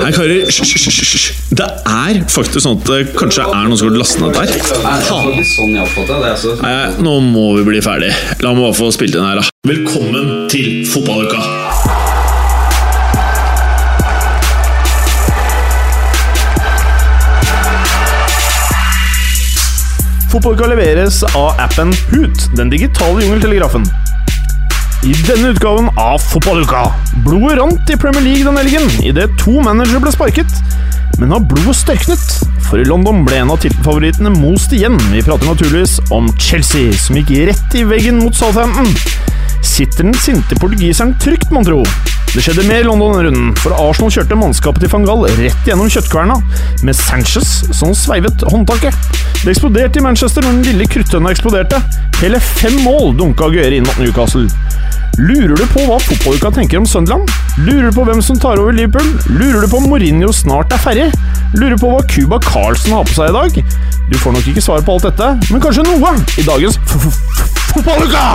Nei, karer, hysj, hysj, hysj, hysj. Det er faktisk sånn at det kanskje er noen som har lastet ned der. Nei, det var ikke sånn jeg oppfattet det. Altså. Nei, nå må vi bli ferdig. La meg bare få spilt inn her, da. Velkommen til fotballuka! Fotballuka leveres av appen Hoot, den digitale jungeltelegrafen. I denne utgaven av Fotballuka Blodet rant i Premier League den helgen idet to managere ble sparket. Men har blodet størknet? For i London ble en av tittelfavorittene most igjen. Vi prater naturligvis om Chelsea, som gikk rett i veggen mot Southampton. Sitter den sinte portugiseren trygt, mon tro? Det skjedde mer i London denne runden, for Arsenal kjørte mannskapet til van Gaal rett gjennom kjøttkverna, med Sanchez som sveivet håndtaket. Det eksploderte i Manchester når den lille kruttønna eksploderte. Hele fem mål dunka Guere inn mot Newcastle. Lurer du på hva fotballuka tenker om Sunderland? Lurer du på hvem som tar over Liverpool? Lurer du på om Mourinho snart er ferdig? Lurer du på hva Cuba Carlsen har på seg i dag? Du får nok ikke svar på alt dette, men kanskje noe i dagens fotballuka!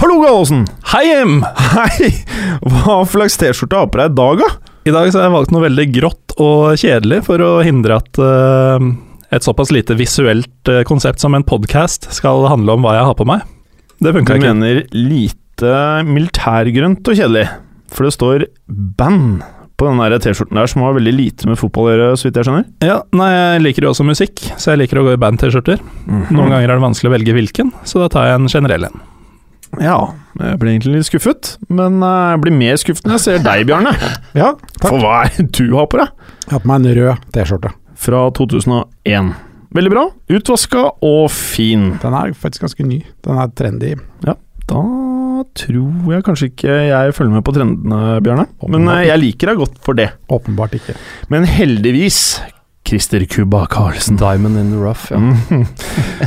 Hallo, Gallosen! Hei, Jim! Hei! Hva slags T-skjorte har på deg i dag, da? I dag så har jeg valgt noe veldig grått og kjedelig for å hindre at eh, et såpass lite visuelt eh, konsept som en podkast skal handle om hva jeg har på meg. Det Du funka ikke. mener lite militærgrønt og kjedelig. For det står band på den der T-skjorten der, som har veldig lite med fotball å gjøre, så vidt jeg skjønner. Ja, nei, jeg liker jo også musikk, så jeg liker å gå i band-T-skjorter. Mhm. Mm. Noen ganger er det vanskelig å velge hvilken, så da tar jeg en generell en. Ja, jeg ble egentlig litt skuffet, men eh, jeg blir mer skuffet når jeg ser deg, Bjarne. Ja, takk. For hva er det du har på deg? Jeg har på meg en rød T-skjorte. Fra 2001. Veldig bra. Utvaska og fin. Den er faktisk ganske ny. Den er trendy. Da tror jeg kanskje ikke jeg følger med på trendene, Bjarne. Men eh, jeg liker deg godt for det. Åpenbart ikke. Men heldigvis Christer Cuba Carlsen. Diamond in the rough, Mhm.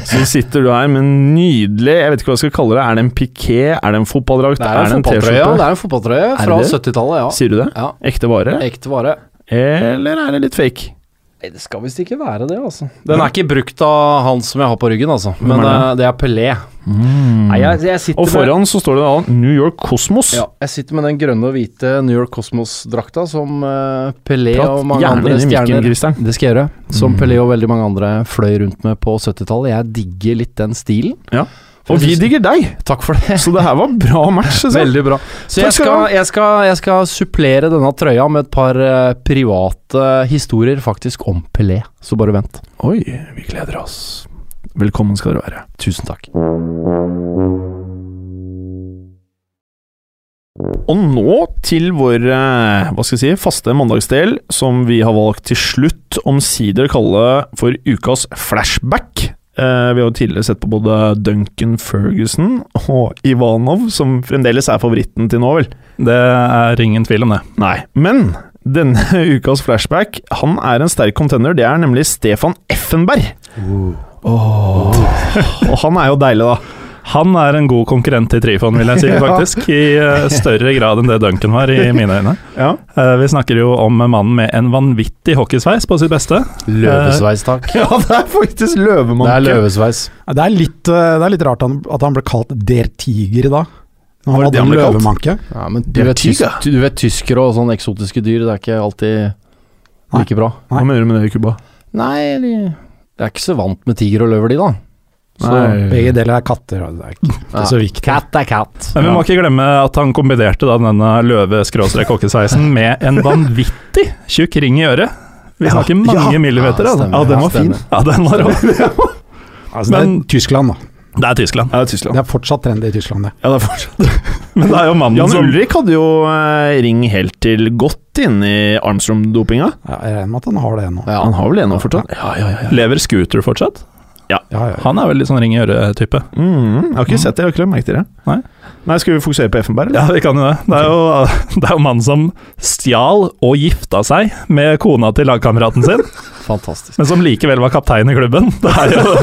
Så sitter du her med en nydelig Jeg vet ikke hva jeg skal kalle det. Er det en piké? Er det en fotballdrakt? Det er, det en en fotballtrøye, T-skjorte? det er en fotballtrøye Er fra det? 70-tallet, ja. Sier du det? ja. Ekte vare? Ekte vare. Eller er det litt fake? Nei, det skal visst ikke være det, altså. Den er ikke brukt av han som jeg har på ryggen, altså. Men er eh, det er Pelé. Nei, jeg, jeg sitter Og foran så står det da New York Cosmos. Med, Mm. ja, jeg sitter med den grønne og hvite New York Cosmos-drakta som eh, Pelé Prat og mange gjerne andre inn i mikken, stjerner Christian. Det skal jeg gjøre. Som Pelé og veldig mange andre fløy rundt med på 70-tallet. Jeg digger litt den stilen. Og vi digger deg, Takk for det. så det her var bra match. liksom. synes jeg. Veldig bra. Så Takk skal du jeg skal, ha. jeg, skal, jeg skal supplere denne trøya med et par eh, private historier faktisk om Pelé, så bare vent. Oi, vi gleder oss. Velkommen skal dere være. Tusen takk. Og nå til vår eh, hva skal jeg si, faste mandagsdel, som vi har valgt til slutt, omsider å kalle for ukas flashback. Eh, vi har jo tidligere sett på både Duncan Ferguson og Ivanov, som fremdeles er favoritten til nå, vel? Det er ingen tvil om det. Nei. Men denne ukas flashback, han er en sterk contender. Det er nemlig Stefan Effenberg. Åh. og han er jo deilig, da. Han er en god konkurrent til Trifon, vil jeg si, faktisk. I eh, større grad enn det Duncan var, i mine øyne. Ja. Eh, Vi snakker jo om mannen med en vanvittig hockeysveis på sitt beste. Løvesveis, takk. ja, det er faktisk løvemanke. Det er løvesveis. Ja, Det er litt, eh, det er litt rart han, at han ble kalt Der Tiger da. Når Var han det det hadde han en ble kalt? løvemanke. Ja, men du Det er vet, tys tiger. du vet tyskere og sånne eksotiske dyr, det er ikke alltid like bra. Hva mener du med det, Kuba? Nei, de Jeg er ikke så vant med tiger og løver, de, da. Nei. Begge deler er katter. og Det er ikke det er så viktig. Cat er cat. Men vi må ikke glemme at han kombinerte da denne løve-hockey-sveisen med en vanvittig tjukk ring i øret. Vi Ja, snakker mange ja. millimeter. Ja, stemmer. Ja, altså. stemmer. Ja, den var rå. Altså, det Men- er Tyskland, da. Det er Tyskland. Ja, det er Tyskland. Det er fortsatt trendy i Tyskland, det. Ja, det er fortsatt Men det er jo mannen Jan som Ulrik hadde jo eh, ring helt til godt inn i Armstrong-dopinga. Ja, jeg regner med at han har det ennå. Ja. Han har vel ennå fortsatt? lever scooter fortsatt. Ja, ja. Han er veldig sånn ring i øret-type. Mm, jeg har ikke sett det, jeg har ikke merket det. Nei. Nei, Skal vi fokusere på Effenberg, Ja, eller? vi kan jo det. Det er jo, det er jo mannen som stjal og gifta seg med kona til lagkameraten sin, Fantastisk. men som likevel var kaptein i klubben. Det er jo,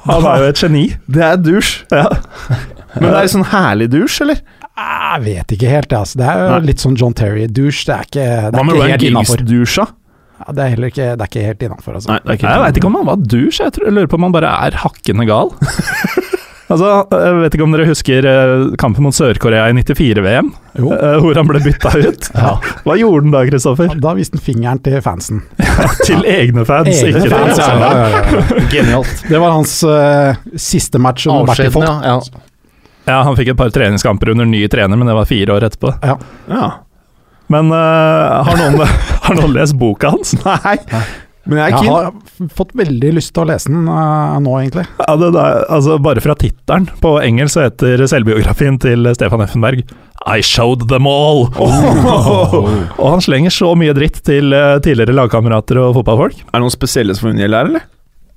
han er jo et geni. Det er dusj. Ja. Men det er sånn herlig dusj, eller? Jeg vet ikke helt, jeg. Altså. Det er jo Nei. litt sånn John Terry-douche. Det er ikke, det Hva er med ikke Ryan helt innafor. Giggs-dusja? Ja, det er heller ikke, det er ikke helt innafor, altså. Nei, det er Jeg veit ikke om han var dusj, jeg, tror, jeg lurer på om han bare er hakkende gal. Altså, jeg vet ikke om dere husker eh, kampen mot Sør-Korea i 94-VM, Jo. hvor han ble bytta ut. Ja. Hva gjorde han da, Kristoffer? Da viste han fingeren til fansen. Til egne fans, Egne ikke til fans, ja, motstanderen. ja, ja, ja. Genialt. Det var hans eh, siste match under Bertil Avskjeden, Vogt. ja. ja. Ja, han fikk et par treningskamper under ny trener, men det var fire år etterpå. Ja. Men eh, har, noen, har noen lest boka hans? Nei, Men jeg har fått veldig lyst til å lese den eh, nå, egentlig. Ja, det der, altså bare fra tittelen på engelsk så heter selvbiografien til Stefan Effenberg I showed them all! Og han slenger så mye dritt til eh, tidligere lagkamerater og fotballfolk. Er det noen spesielle som hun gjelder her, eller?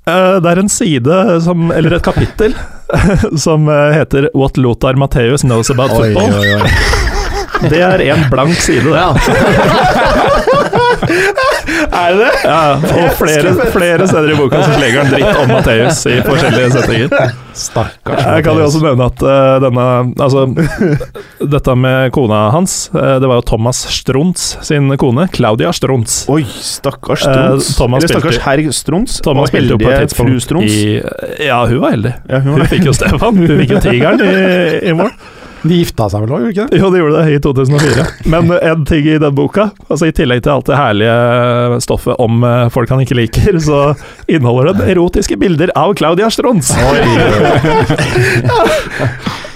Eh, Det er en side, som, eller et kapittel, som eh, heter What Lothar Matthäus Knows About Football. Det er en blank side, det. er det det? Ja, og flere, flere steder i boka så slenger han dritt om Matthäus i forskjellige settinger. Stakkars. Jeg kan jo også nevne at eh, denne Altså, dette med kona hans eh, Det var jo Thomas Strunz sin kone, Claudia Strunz. Oi, stakkars Eh, Strons. Thomas eller stakkars spilte- herr Strons. Thomas og spilte jo på heldige et fru tidspunkt Strons. i Ja, hun var heldig. Ja, hun Hun var- fikk jo Stefan. Hun fikk jo Tigeren i, i mål. De gifta seg vel òg, gjorde de ikke det? Jo, det gjorde det, i 2004. Men en ting i den boka, altså i tillegg til alt det herlige stoffet om eh, folk han ikke liker, så inneholder den erotiske bilder av Claudia Strunz.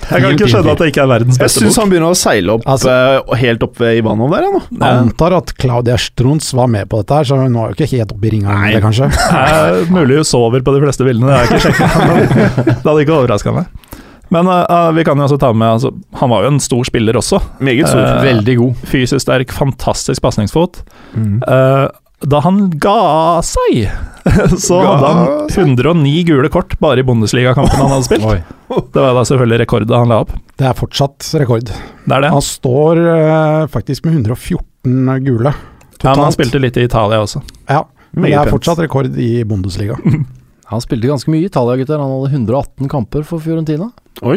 Jeg kan ikke skjønne at det ikke er verdens Jeg beste syns bok. han begynner å seile opp Altså- eh, helt opp ved Ivanov der, han nå. Antar at Claudia Strunz var med på dette, her, så hun var jo ikke helt oppe i ringa med det, kanskje. Det er mulig hun sover på de fleste bildene, det har jeg ikke sjekket. Det hadde ikke overraska meg. Men eh, eh, vi kan jo også ta med altså, Han var jo en stor spiller også. Meget stor. Eh, Veldig god. Fysisk sterk, fantastisk pasningsfot. mm. Eh, da han ga seg, så hadde han 109 gule kort bare i Bundesliga-kampen han hadde spilt. Oi. Det var da selvfølgelig rekordet han la opp. Det er fortsatt rekord. Det er det. Han står eh, faktisk med 114 gule. Ja, men han totalt. spilte litt i Italia også. Ja, men det Meget er pent. fortsatt rekord i Bundesliga. Han spilte ganske mye i Italia, gutter. Han hadde 118 kamper for Fiorentina. Oi.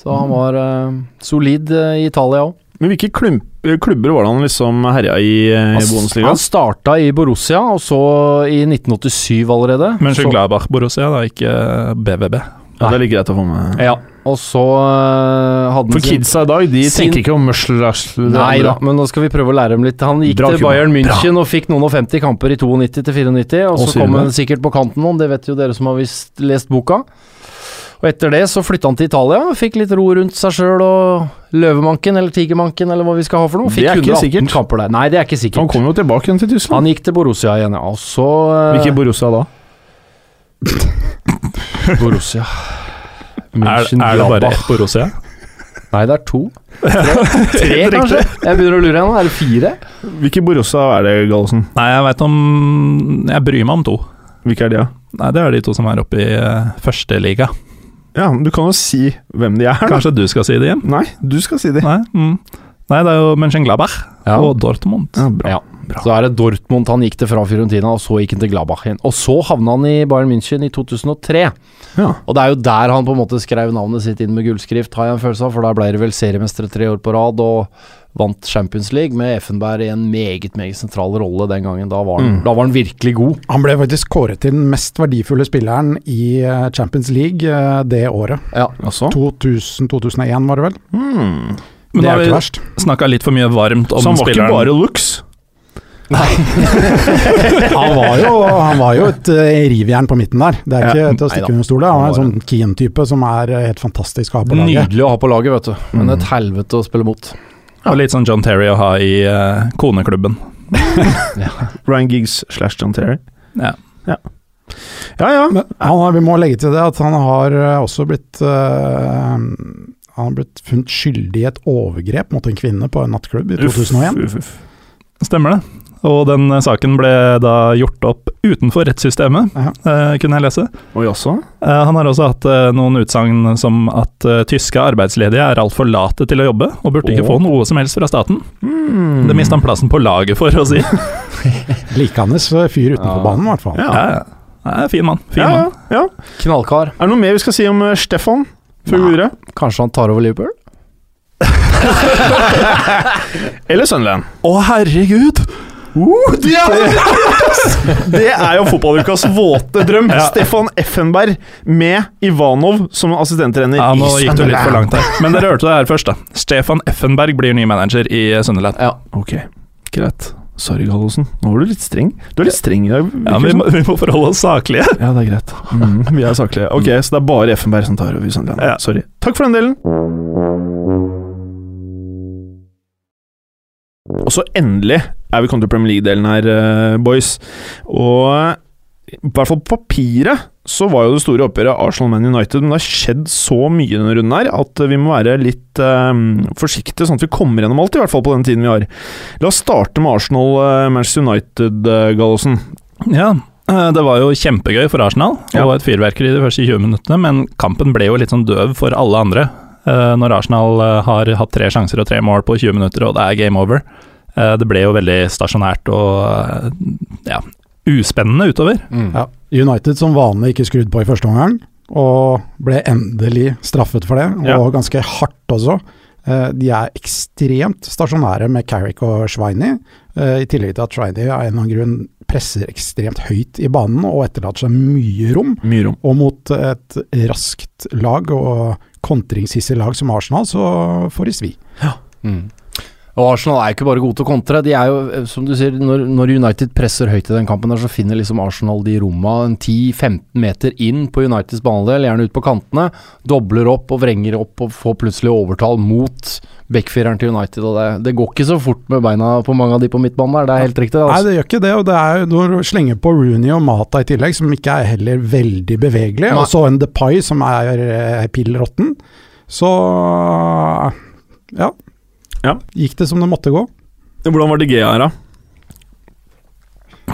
Så han var eh, solid eh, i Italia òg. Men hvilke klump, klubber var det han liksom herja i, eh, i Bundesliga? Han starta i Borussia, og så i 1987 allerede. Men så, Glabach Borussia, da, ikke eh, BVB. Ja, det er litt greit å få med. ja, og så eh, hadde For han sin- kidsa i dag, de sin- tenker ikke om muskelrasler. Nei da, men nå skal vi prøve å lære dem litt. Han gikk Bra, til Kuba. Bayern München og fikk noen og 50 kamper i 92 til 94, og Og så sier kom du han sikkert på kanten noen, det vet jo dere som har visst, lest boka. Og etter det så flytta han til Italia, og fikk litt ro rundt seg sjøl og Løvemanken eller Tigermanken eller hva vi skal ha for noe. Det Fikk er ikke 118 sikkert. kamper der. Nei, det er ikke Han sikkert. kom jo tilbake igjen til Han, Tyskland. gikk til Borussia igjen, ja. Og så eh, Hvilke Borussia da? Borussia? Er, München, er det bare Gladbach. ett Borussia? Nei, det er to. Tre, Tre kanskje? Jeg begynner å lure igjen. Er det fire? Hvilke Borussia er det, Gallosen? Nei, jeg veit om Jeg bryr meg om to. Hvilke er de, da? Nei, det er de to som er oppe i eh, førsteliga. Ja, men du kan jo si hvem de er. da. Kanskje du skal si det igjen? Nei, du skal si de. Nei, mm. Nei det er jo Mönchenglaberg og Dortmund. Ja, bra. Ja. Så er det Dortmund han gikk til fra Fiorentina, og så gikk han til Gladbach igjen. Og så havna han i Bayern München i 2003. Ja. Og det er jo der han på en måte skrev navnet sitt inn med gullskrift, har jeg en følelse av, for da ble det vel seriemestere tre år på rad, og vant Champions League med Effenberg i en meget, meget sentral rolle den gangen. Da var han, da var han virkelig god. Han ble faktisk kåret til den mest verdifulle spilleren i eh, Champions League eh, det året. Ja. Altså. 2000-2001 var det vel? Hmm. det Men er da har jo ikke vi verst. snakka litt for mye varmt om Så han var ikke spilleren. bare looks? Han var jo, han var jo et eh, rivjern på midten der. Det er ikke til å stikke under stol. Han er en sånn Keen-type som er eh, helt fantastisk å ha på laget. Nydelig å ha på laget, vet du. Mm. Men et helvete å spille mot. Og litt sånn John Terry å ha i eh, koneklubben. Ryan Giggs slash John Terry. Ja. Ja ja. Men han, har- vi må legge til det at han har eh, også blitt eh, han har blitt funnet skyldig i et overgrep mot en kvinne på en nattklubb i 2001. Uff, uff, uff. Stemmer det. Og den eh, saken ble da gjort opp utenfor rettssystemet, Ja. eh, kunne jeg lese. Oi, altså. også? Eh, han har også hatt eh, noen utsagn som at eh, tyske arbeidsledige er altfor late til å jobbe, og burde ikke Åh. få noe som helst fra staten. Hmm. Det mista han plassen på laget for, å si. Likende fyr utenfor Ja. banen, i hvert fall. Ja. Ja, ja. Nei, fin mann. Fin Ja, mann. ja, ja. Knallkar. Er det noe mer vi skal si om eh, Stefan? Før vi går videre? Kanskje han tar over Liverpool? Eller Sunderland? Å, herregud! Det er jo fotballukas våte drøm. Ja. Stefan Effenberg med Ivanov som assistenttrener. Ja, nå i gikk du litt for Sunderland. langt her. Men dere hørte det her først, da. Stefan Effenberg blir ny manager i Sunderland. Ja. Ok, greit. Sorry, Gallosen. Nå var du litt streng. Du er litt streng i dag. virker Ja, men det vi som. må, vi må forholde oss saklige. ja, det er greit. Mm, vi er saklige. Ok, Så det er bare Effenberg som tar over i Sunderland. Ja. Sorry. Takk for den delen. Og så endelig er vi kommet til Premier League-delen her, eh, boys. Og i hvert fall på papiret så var jo det store oppgjøret Arsenal-Man United, men det har skjedd så mye i denne runden her at vi må være litt eh, forsiktige, sånn at vi kommer gjennom alt, i hvert fall på den tiden vi har. La oss starte med eh, Arsenal-Manchester United-gallosen. Ja, eh, det var jo kjempegøy for Arsenal, Ja. og et fyrverkeri de første 20 minuttene, men kampen ble jo litt sånn døv for alle andre. eh, Når Arsenal eh, har hatt tre sjanser og tre mål på 20 minutter, og det er game over. Eh, Det ble jo veldig stasjonært og eh, ja, uspennende utover. Mm. Ja, United som vanlig ikke skrudd på i første omgang, og ble endelig straffet for det, Ja. og ganske hardt også. Eh, De er ekstremt stasjonære med Carrick og Schweini, eh, i tillegg til at Schweini av en eller annen grunn presser ekstremt høyt i banen og etterlater seg mye rom. Mye rom. Og mot et raskt lag og kontrings lag som Arsenal, så får de svi. Mm. Og Arsenal er jo ikke bare gode til å kontre. De er jo, eh, som du sier, når, når United presser høyt i den kampen, der, så finner liksom Arsenal de romma en 10-15 meter inn på Uniteds banedel, gjerne ut på kantene. Dobler opp og vrenger opp og får plutselig overtall mot backfireren til United. Og det, det går ikke så fort med beina på mange av de på midtbanen der, det er helt riktig. Nei, Altså. det gjør ikke det, og det er jo når du slenger på Rooney og Mata i tillegg, som ikke er heller veldig bevegelige, Nei. og så en DePay som er eh, pill råtten, så ja. Ja. Gikk det som det måtte gå. Hvordan var det Gea her, da?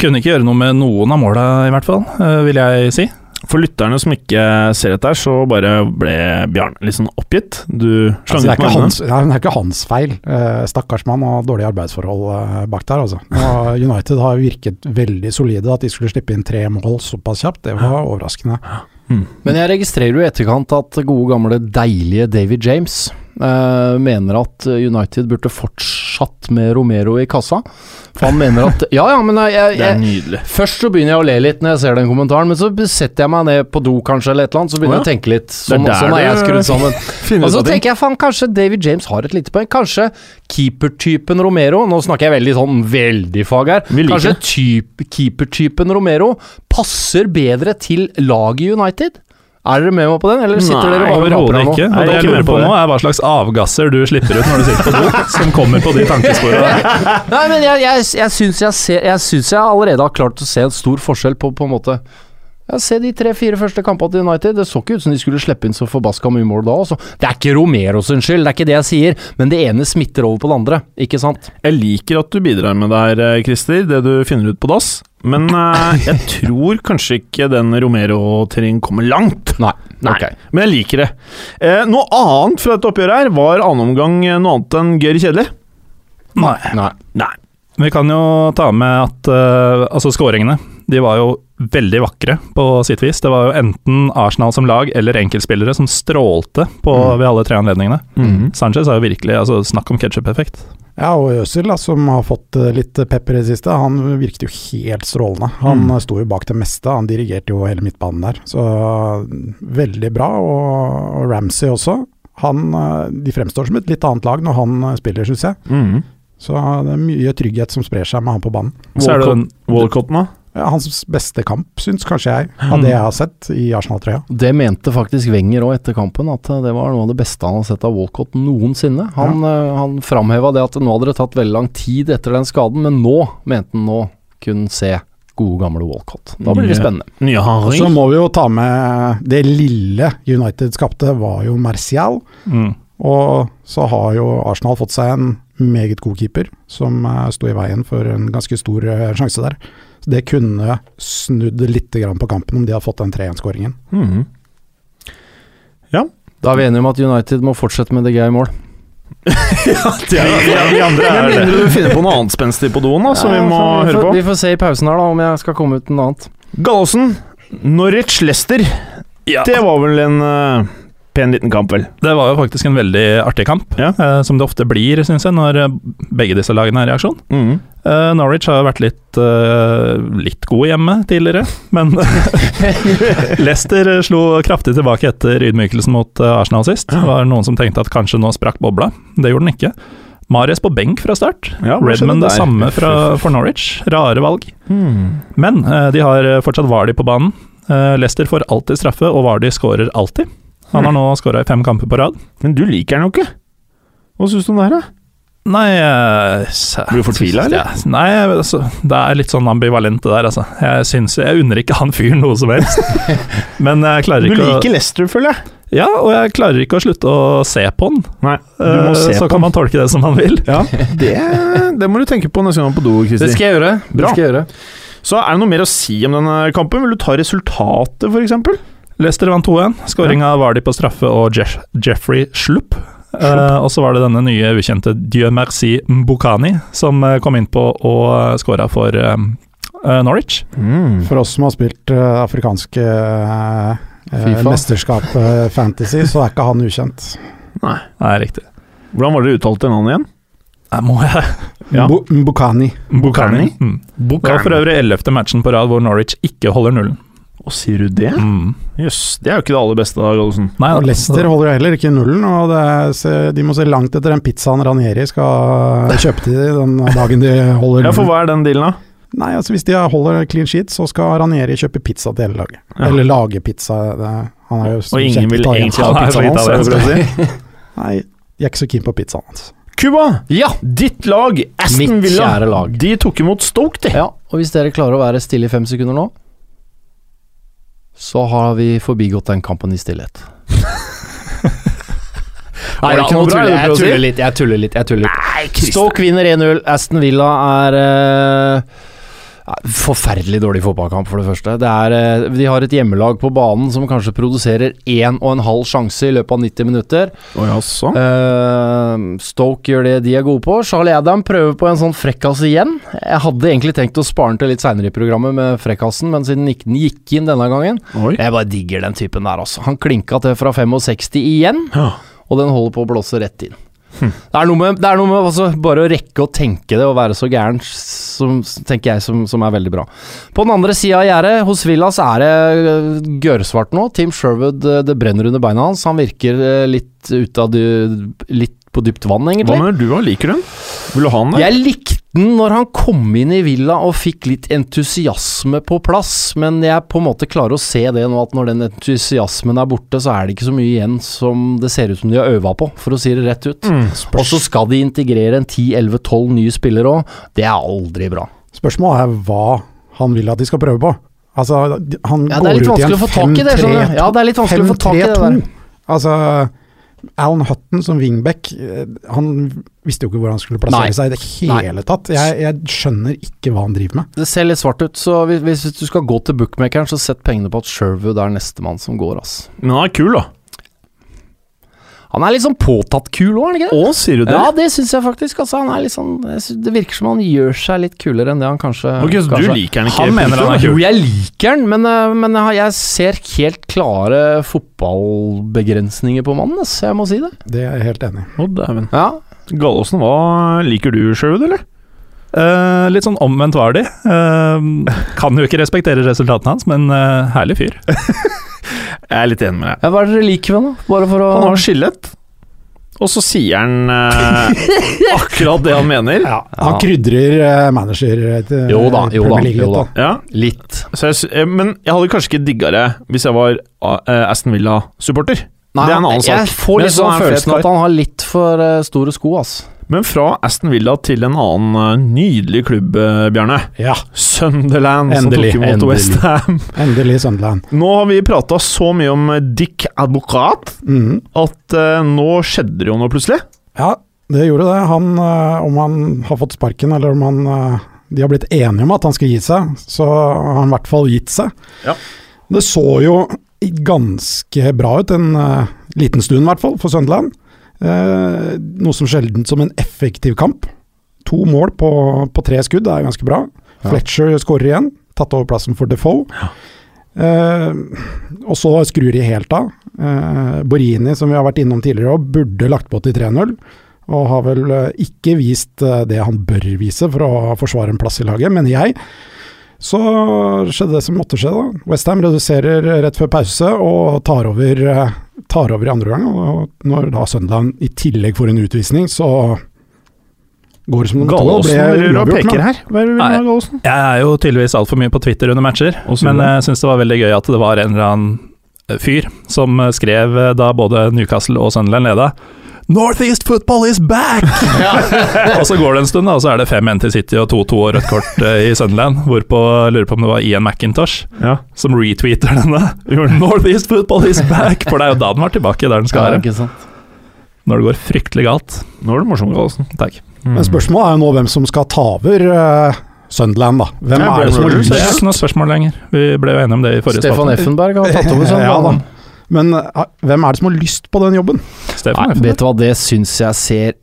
Kunne ikke gjøre noe med noen av måla, i hvert fall, eh, vil jeg si. For lytterne som ikke ser dette her, så bare ble Bjarne litt sånn oppgitt. Du Altså, slang det, ut er ikke med hans, nei, det er ikke hans feil. Eh, stakkars mann og dårlige arbeidsforhold eh, bak der, altså. Og United har virket veldig solide. At de skulle slippe inn tre mål såpass kjapt, det var overraskende. Men jeg registrerer jo i etterkant at gode gamle, deilige David James eh, mener at United burde fortsatt med Romero i kassa. For han mener at Ja, ja, men jeg, jeg, Det er nydelig. Først så begynner jeg å le litt når jeg ser den kommentaren, men så setter jeg meg ned på do kanskje eller et eller annet, så Å, begynner ja. jeg å tenke litt. Sånn, der sånn er jeg du- skrudd sammen. Og Altså, så tenker jeg faen, kanskje David James har et lite poeng. Kanskje keepertypen Romero Nå snakker jeg veldig sånn veldig fag her. Vi liker Kanskje typ- keepertypen Romero passer bedre til laget i United? Er dere med meg på den, eller sitter Nei, dere bare og Overhodet raper her ikke. nå? Nei, Og det jeg jeg lurer lurer på på det. nå, er hva slags avgasser du slipper ut når du sitter på do, som kommer på de tankesporene. Nei, men jeg, jeg, jeg syns jeg, ser, jeg syns jeg allerede har klart å se en stor forskjell på, på en måte ja, Se de tre-fire første kampene til United. Det så ikke ut som de skulle slippe inn så forbaska mye mål da. Også. Det er ikke Romero sin skyld, det er ikke det jeg sier, men det ene smitter over på det andre, ikke sant? Jeg liker at du bidrar med det her, eh, Christer, det du finner ut på dass. Men eh, jeg tror kanskje ikke den Romero-tingen kommer langt. Nei. Nei. ok. Men jeg liker det. Eh, noe annet fra dette oppgjøret her var annen omgang eh, noe annet enn gøy eller kjedelig. Nei. Nei. Vi kan jo ta med at eh, altså skåringene de var jo veldig vakre på sitt vis. Det var jo enten Arsenal som lag eller enkeltspillere som strålte på, Mm. ved alle tre anledningene. Sanchez er jo virkelig altså, Snakk om ketsjup-effekt. Ja, og Øsil, da, som har fått eh, litt pepper i det siste, han virket jo helt strålende. Han eh, sto jo bak det meste, han dirigerte jo hele midtbanen der. Så mm, veldig bra. Og, og Ramsey også. Han, eh, de fremstår som et litt annet lag når han eh, spiller, syns jeg. Så eh, det er mye trygghet som sprer seg med han på banen. Så er det den, Walcott- Walcott nå? Ja, hans beste kamp, syns kanskje jeg, av det jeg har sett i Arsenal-trøya. Det mente faktisk Wenger òg etter kampen, at eh, det var noe av det beste han har sett av Walcott noensinne. Han, ja. han framheva det at nå hadde det tatt veldig lang tid etter den skaden, men nå mente han nå kunne se gode, gamle Walcott. Da blir det Ja. spennende. Nye Og Så Haring? må vi jo ta med det lille United skapte, var jo Martial. mm. Og så har jo Arsenal fått seg en meget god keeper, som eh, sto i veien for en ganske stor eh, sjanse der. Så det kunne snudd litt grann på kampen om de hadde fått den 3-1-skåringen. Mhm. Da er vi enige om at United må fortsette med det gøy i mål. Ja, vi andre er det. Mindre du finner på noe annet spenstig på doen, da, som vi må får, høre på. Vi får se i pausen her, da, om jeg skal komme ut noe annet. Gallosen, Norwich Lester. Ja. Det var vel en eh, pen liten kamp, vel. Det var jo faktisk en veldig artig kamp, Ja. eh, som det ofte blir, syns jeg, når eh, begge disse lagene er i aksjon. Eh, Norwich har jo vært litt, eh, litt gode hjemme tidligere, men Leicester slo kraftig tilbake etter ydmykelsen mot eh, Arsenal sist. Det var noen som tenkte at kanskje nå sprakk bobla. Det gjorde den ikke. Marius på benk fra start. Ja, hva skjedde Redmond det der? Hmm. samme fra, for Norwich. Rare valg. Men eh, de har eh, fortsatt Vardy på banen. Eh, Leicester får alltid straffe, og Vardy skårer alltid. Han Mm. har nå skåra i fem kamper på rad. Men du liker den jo ikke. Hva syns du om det her, da? Nei eh, så- Blir du fortvila, eller? Ja, nei, altså, det er litt sånn ambivalent det der, altså. Jeg syns Jeg unner ikke han fyren noe som helst. Men jeg klarer Du ikke å liker Leicester, føler jeg. Ja, og jeg klarer ikke å slutte å se på den. Nei, Eh, så kan man tolke det som man vil. Ja, det, det må du tenke på neste gang på do, Det Kristi. skal jeg gjøre. Bra. Det skal jeg gjøre. Så er det noe mer å si om denne kampen? Vil du ta resultatet, f.eks.? Leicester vant 2-1. Skåringa var de på straffe og Jeff Jeffrey Slupp. Eh, og så var det denne nye ukjente Dieu Merci Mbukani som eh, kom innpå og skåra for eh, eh, Norwich. Mm. For oss som har spilt eh, afrikanske eh, eh, FIFA. mesterskap eh, fantasy, så er ikke han ukjent. Nei, riktig. Hvordan var det du uttalte navnet igjen? Nei, må jeg Ja. Mbu- Mbukani. Mbukani. Mm. Det var for Bukan. øvrig ellevte matchen på rad hvor Norwich ikke holder nullen. Og sier du det? Mm. Jøss, det er jo ikke det aller beste, da, Gollesen. Nei, Og Leicester holder jo heller ikke nullen, og det er, se- de må se langt etter den pizzaen Ranieri skal eh, kjøpe til den dagen de holder Ja, for nullen. hva er den dealen, da? Nei, altså Hvis de holder clean sheet, så skal Ranieri kjøpe pizza til hele laget. Ja. Eller lage pizza. det- Han er jo Og ingen vil italiensk. egentlig ha Nei, pizzaen hans, altså. for er det det du sier? sånn, Nei, jeg er ikke så keen på pizzaen hans. Cuba, Ja! ditt lag, Aston Mitt Villa, kjære lag. de tok imot Stoke, de. ja! Og hvis dere klarer å være stille i fem sekunder nå, så har vi forbigått den kampen i stillhet. Nei, det da, ikke nå noe bra, tuller er det du prøver å jeg. Jeg si? tuller litt. Jeg tuller litt. Jeg tuller litt. Nei, Stoke vinner 1-0. Aston Villa er eh, ja, Forferdelig dårlig fotballkamp, for det første. Det er, eh, de har et hjemmelag på banen som kanskje produserer én og en halv sjanse i løpet av 90 minutter. Å ja, sånn. Eh, Stoke gjør det de er gode på. Charlie Adam prøver på en sånn frekkas igjen. Jeg hadde egentlig tenkt å spare den til litt seinere i programmet med frekkasen, men siden den ikke- den gikk inn denne gangen Oi. Jeg bare digger den typen der, altså. Han klinka til fra 65 igjen Ja. Hm. og den holder på å blåse rett inn. Det er noe med, det er noe med altså, bare å rekke å tenke det og være så gæren, som, tenker jeg, som, som er veldig bra. På den andre sida av gjerdet, hos Villas er det øh, gørrsvart nå. Tim Sherwood, øh, det brenner under beina hans. Han virker øh, litt ute av dy- Litt på dypt vann, Hva egentlig. mener du, da? Liker du den? Vil du ha den der? Jeg likte den når han kom inn i Villa og fikk litt entusiasme på plass, men jeg på en måte klarer å se det nå, at når den entusiasmen er borte, så er det ikke så mye igjen som det ser ut som de har øva på, for å si det rett Mm. ut. Mm. og så skal de integrere en 10-11-12 nye spillere òg. Det er aldri bra. Spørsmålet er hva han vil at de skal prøve på. Altså, de- han Ja, det er går ut litt i vanskelig en å få tak i det, skjønner du. 5-3-2. Ja, det er litt vanskelig å få tak i det der. 5-3-2. Altså, Alan Hutton som wingback, eh, han visste jo ikke hvor han skulle plassere Nei. seg i det hele tatt. Jeg, jeg skjønner ikke hva han driver med. Det ser litt svart ut, så hvis, hvis du skal gå til bookmakeren, så sett pengene på at Sherwood er nestemann som går, ass. Men den er kul, da. Han er litt sånn påtatt kul òg, er han ikke det? Å, sier du det? Ja, det syns jeg faktisk. Altså, han er litt sånn, jeg synes det virker som han gjør seg litt kulere enn det han kanskje Ok, så du kanskje. liker den ikke? Han mener han er Jo, kul. jeg liker han, men, eh, men jeg har- jeg ser helt klare fotballbegrensninger på mannen. ass, Jeg må si det. Det er jeg helt enig i. Å, dæven. Ja, Gallosen, hva liker du, Sherwood, eller? Eh, litt sånn omvendt var de. Eh, kan jo ikke respektere resultatene hans, men eh, herlig fyr. Jeg er litt enig med deg. Ja, Hva er det dere liker med han, da? Bare for Han å har skillet, og så sier han eh, akkurat det han mener. Ja. Han krydrer eh, manager til Jo da, jo da, jo da. Litt. så jeg, s- eh, men jeg hadde kanskje ikke digga det hvis jeg var eh, Aston Villa-supporter. Det er en annen jeg sak. får Men litt så er sånn han fet følelsen kar. at han har litt for eh, store sko, ass. Men fra Aston Villa til en annen eh, nydelig klubb, eh, Bjarne. Ja, Sunderland Endelig, som tok imot endelig. Westham. endelig Sunderland. Nå har vi prata så mye om eh, Dick Advokat Mhm. at eh, nå skjedde det jo noe plutselig. Ja, det gjorde det. Han, eh, om han har fått sparken, eller om han, eh, de har blitt enige om at han skal gi seg, så har han i hvert fall gitt seg. Ja. Det så jo ganske bra ut, en eh, liten stund i hvert fall, for Sunderland. Eh, noe som sjelden som en effektiv kamp. To mål på, på tre skudd er ganske bra. Fletcher skårer igjen, tatt over plassen for Defoe. Eh, og så skrur de helt av. Eh, Borini, som vi har vært innom tidligere òg, burde lagt på til 3-0. Og har vel eh, ikke vist eh, det han bør vise for å forsvare en plass i laget, mener jeg. Så skjedde det som måtte skje, da. Westham reduserer rett før pause og tar over, eh, tar over i andre gang. Og når da Sunderland i tillegg får en utvisning, så går det som det måtte gå. Galaasen Ble driver og uavgjort, peker men- her. Hva er det vi Nei. vil ha, Galaasen? Jeg er jo tydeligvis altfor mye på Twitter under matcher, men jeg syns det var veldig gøy at det var en eller annen eh, fyr som eh, skrev eh, da både Newcastle og Sunderland leda Northeast football is back! og så går det en stund, da, og så er det 5-1 til City og 2-2 og rødt kort eh, i Sunderland. Hvorpå jeg lurer på om det var Ian McIntosh Ja. som retweeter denne. Northeast football is back! For det er jo da den var tilbake der den skal Ja, være. ikke sant? Når det går fryktelig galt. Nå er du morsom, Galaasen. Takk. Mm. Men spørsmålet er jo nå hvem som skal ta over eh, Sunderland, da. Hvem Ja, er det som har Brendan Så lyst? det er ikke noe spørsmål lenger. Vi ble jo enige om det i forrige Stefan spalte. Effenberg har tatt over sånn. Ja da. Men eh, hvem er det som har lyst på den jobben? Stefan Nei, Effenberg. vet du hva, det syns jeg ser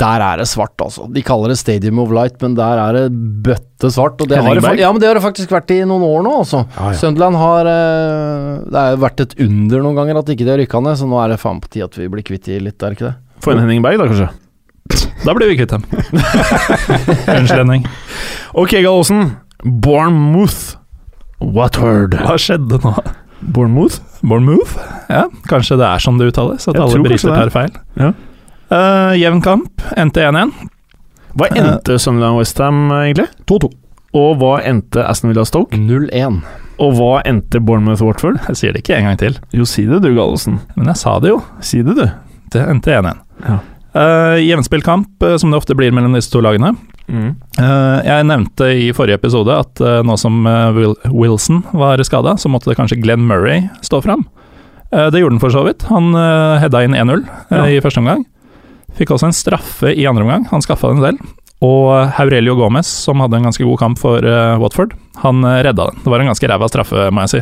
Der er det svart, altså. De kaller det Stadium of Light, men der er det bøtte svart. Og det har det, fa- Henningberg? ja, men det har det faktisk vært i noen år nå, altså. Sunderland har eh, Det har jo vært et under noen ganger at ikke de har rykka ned, så nå er det faen på tide at vi blir kvitt de litt, er det ikke det? Mm. Få en Henning Berg, da, kanskje. Da blir vi kvitt dem. Unnskyld, Henning. Ok, Galaasen. Bournemouth. Watford. Hva skjedde nå? Bournemouth? Bournemouth? Ja, kanskje det er sånn det uttales? At Jeg alle tror kanskje briter det er. tar feil? Ja. Eh, jevn kamp, endte 1-1. Hva Eh. endte Sunderland Westham, egentlig? 2-2. Og hva endte Aston Villa Stoke? 0-1. Og hva endte Bournemouth Watford? Jeg sier det ikke en gang til, Jo, si det du, Gallosen. men jeg sa det jo. Si det, du. Det endte 1-1. Ja. Eh, Jevnspillkamp, eh, som det ofte blir mellom disse to lagene. Mm. Eh, jeg nevnte i forrige episode at eh, nå som eh, Wil Wilson var skada, så måtte det kanskje Glenn Murray stå fram. Eh, det gjorde han for så vidt. Han uh, heada inn 1-0 eh, i første omgang. Fikk også en straffe i andre omgang, han skaffa den selv. Og eh, Aurelio Gomez, som hadde en ganske god kamp for eh, Watford, han eh, redda den. Det var en ganske ræva straffe, må jeg si.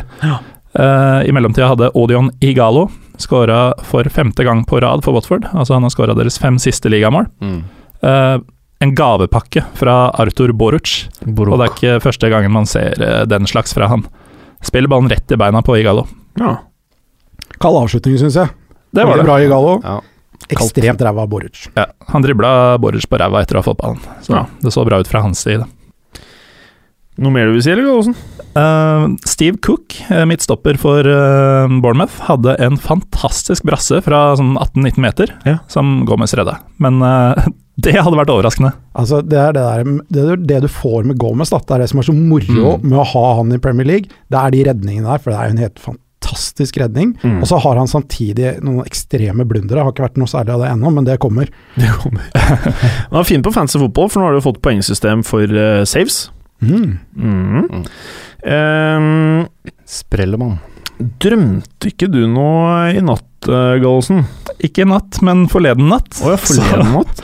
Eh, I mellomtida hadde Odion Igalo skåra for femte gang på rad for Watford. Altså han har skåra deres fem siste ligamål. Mm. Eh, en gavepakke fra Arthur Boruc, og det er ikke første gangen man ser eh, den slags fra han. Spiller ballen rett i beina på Igalo. Ja. Kald avslutning, syns jeg. Det var Veldig det. Bra i Gallo. Ja. Ekstremt ræva av Boruc. Ja, han dribla Boruc på ræva etter å ha fått ballen, så Ja. det så bra ut fra hans side. Noe mer du vil si, eller, Gallosen? Eh, Steve Cook, eh, midtstopper for eh, Bournemouth, hadde en fantastisk brasse fra sånn 18-19 meter, Ja. som Gomez redda. Men eh, det hadde vært overraskende. Altså, det er det, der, det, er det du får med Gomez, da. det er det som er så moro med å ha han i Premier League. Det er de redningene der, for det er jo en helt fantastisk redning. Mm. Og så har han samtidig noen ekstreme blundere. Har ikke vært noe særlig av det ennå, men det kommer. Han er fin på fancy fotball, for nå har du fått poengsystem for eh, saves. Mm. Mhm. Eh, Sprellemann. drømte ikke du noe i natt, uh, Gallosen? Ikke i natt, men forleden natt. Så- natt?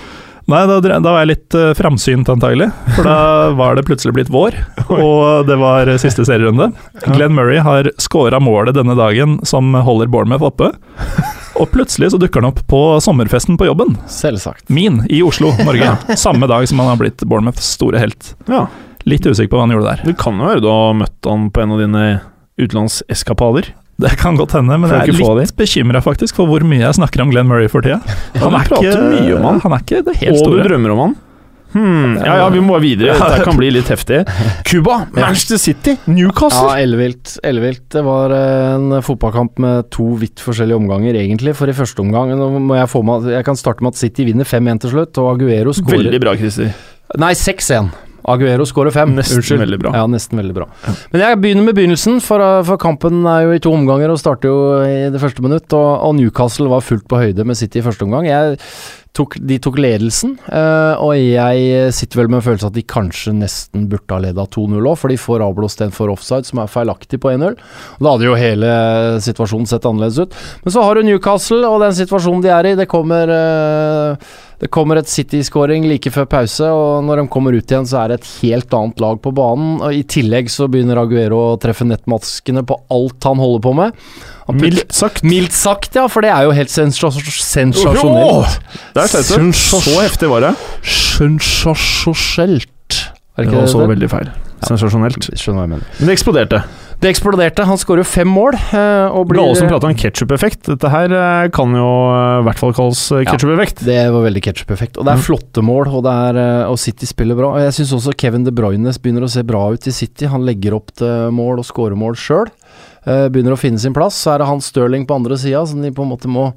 Nei, da, dre- da var jeg litt eh, framsynt antagelig, for da var det plutselig blitt vår, og det var eh, siste serierunde. Glenn Murray har scora målet denne dagen som holder Bournemouth oppe, og plutselig så dukker han opp på sommerfesten på jobben, Selvsagt. min, i Oslo, Norge. Samme dag som han har blitt Bournemouths store helt. Ja. Litt usikker på hva han gjorde der. Det kan jo være du har møtt han på en av dine utenlandseskapader. Det kan godt hende, men Får jeg ikke få er litt bekymra faktisk for hvor mye jeg snakker om Glenn Murray for tida. Han er, prater ikke, mye om han. han er ikke det Og helt store. du drømmer om han. Hmm. Ja, ja, vi må bare videre. Dette kan bli litt heftig. Cuba, Manchester City, Newcastle. Ja, ellevilt. Ellevilt. Det var eh, en fotballkamp med to vidt forskjellige omganger, egentlig. For i første omgang Nå må jeg, få med, at- jeg kan starte med at City vinner 5-1 til slutt, og Aguero skårer Veldig bra, Christer. Nei, 6-1. Aguero skårer 5. Nesten veldig bra. Ja, nesten veldig bra. Men jeg begynner med begynnelsen, for, uh, for kampen er jo i to omganger og starter jo i det første minutt. Og, og Newcastle var fullt på høyde med City i første omgang. Jeg tok, de tok ledelsen, eh, og jeg sitter vel med en følelse at de kanskje nesten burde ha leda 2-0 òg, for de får avblåst en for offside som er feilaktig på 1-0. Og Da hadde jo hele situasjonen sett annerledes ut. Men så har du Newcastle og den situasjonen de er i. Det kommer, eh, det kommer et City-skåring like før pause, og når de kommer ut igjen, så er det et helt annet lag på banen. Og I tillegg så begynner Aguero å treffe nettmaskene på alt han holder på med. Han putter- Mildt sagt. Mildt sagt, ja, for det er jo helt sensa- Åh, sensasjonelt. Der sleit du. Så heftig var det. Sensasjonelt. Er Det ikke var det så det? Eh, veldig feil. Sensasjonelt. Skjønner hva jeg mener. Men det eksploderte. Det eksploderte. Han skårer jo fem mål. eh, Og blir, Galesen prater om ketsjup-effekt. Dette her eh, kan jo eh, i hvert fall kalles eh, Ja. ketsjup-effekt. Det var veldig ketsjup-effekt. Og det er flotte mål, og, det er, eh, og City spiller bra. Og Jeg syns også Kevin De Bruyne begynner å se bra ut i City. Han legger opp til mål og scorer mål sjøl. Begynner å finne sin plass. Så er det han Stirling på andre sida, som de på en måte må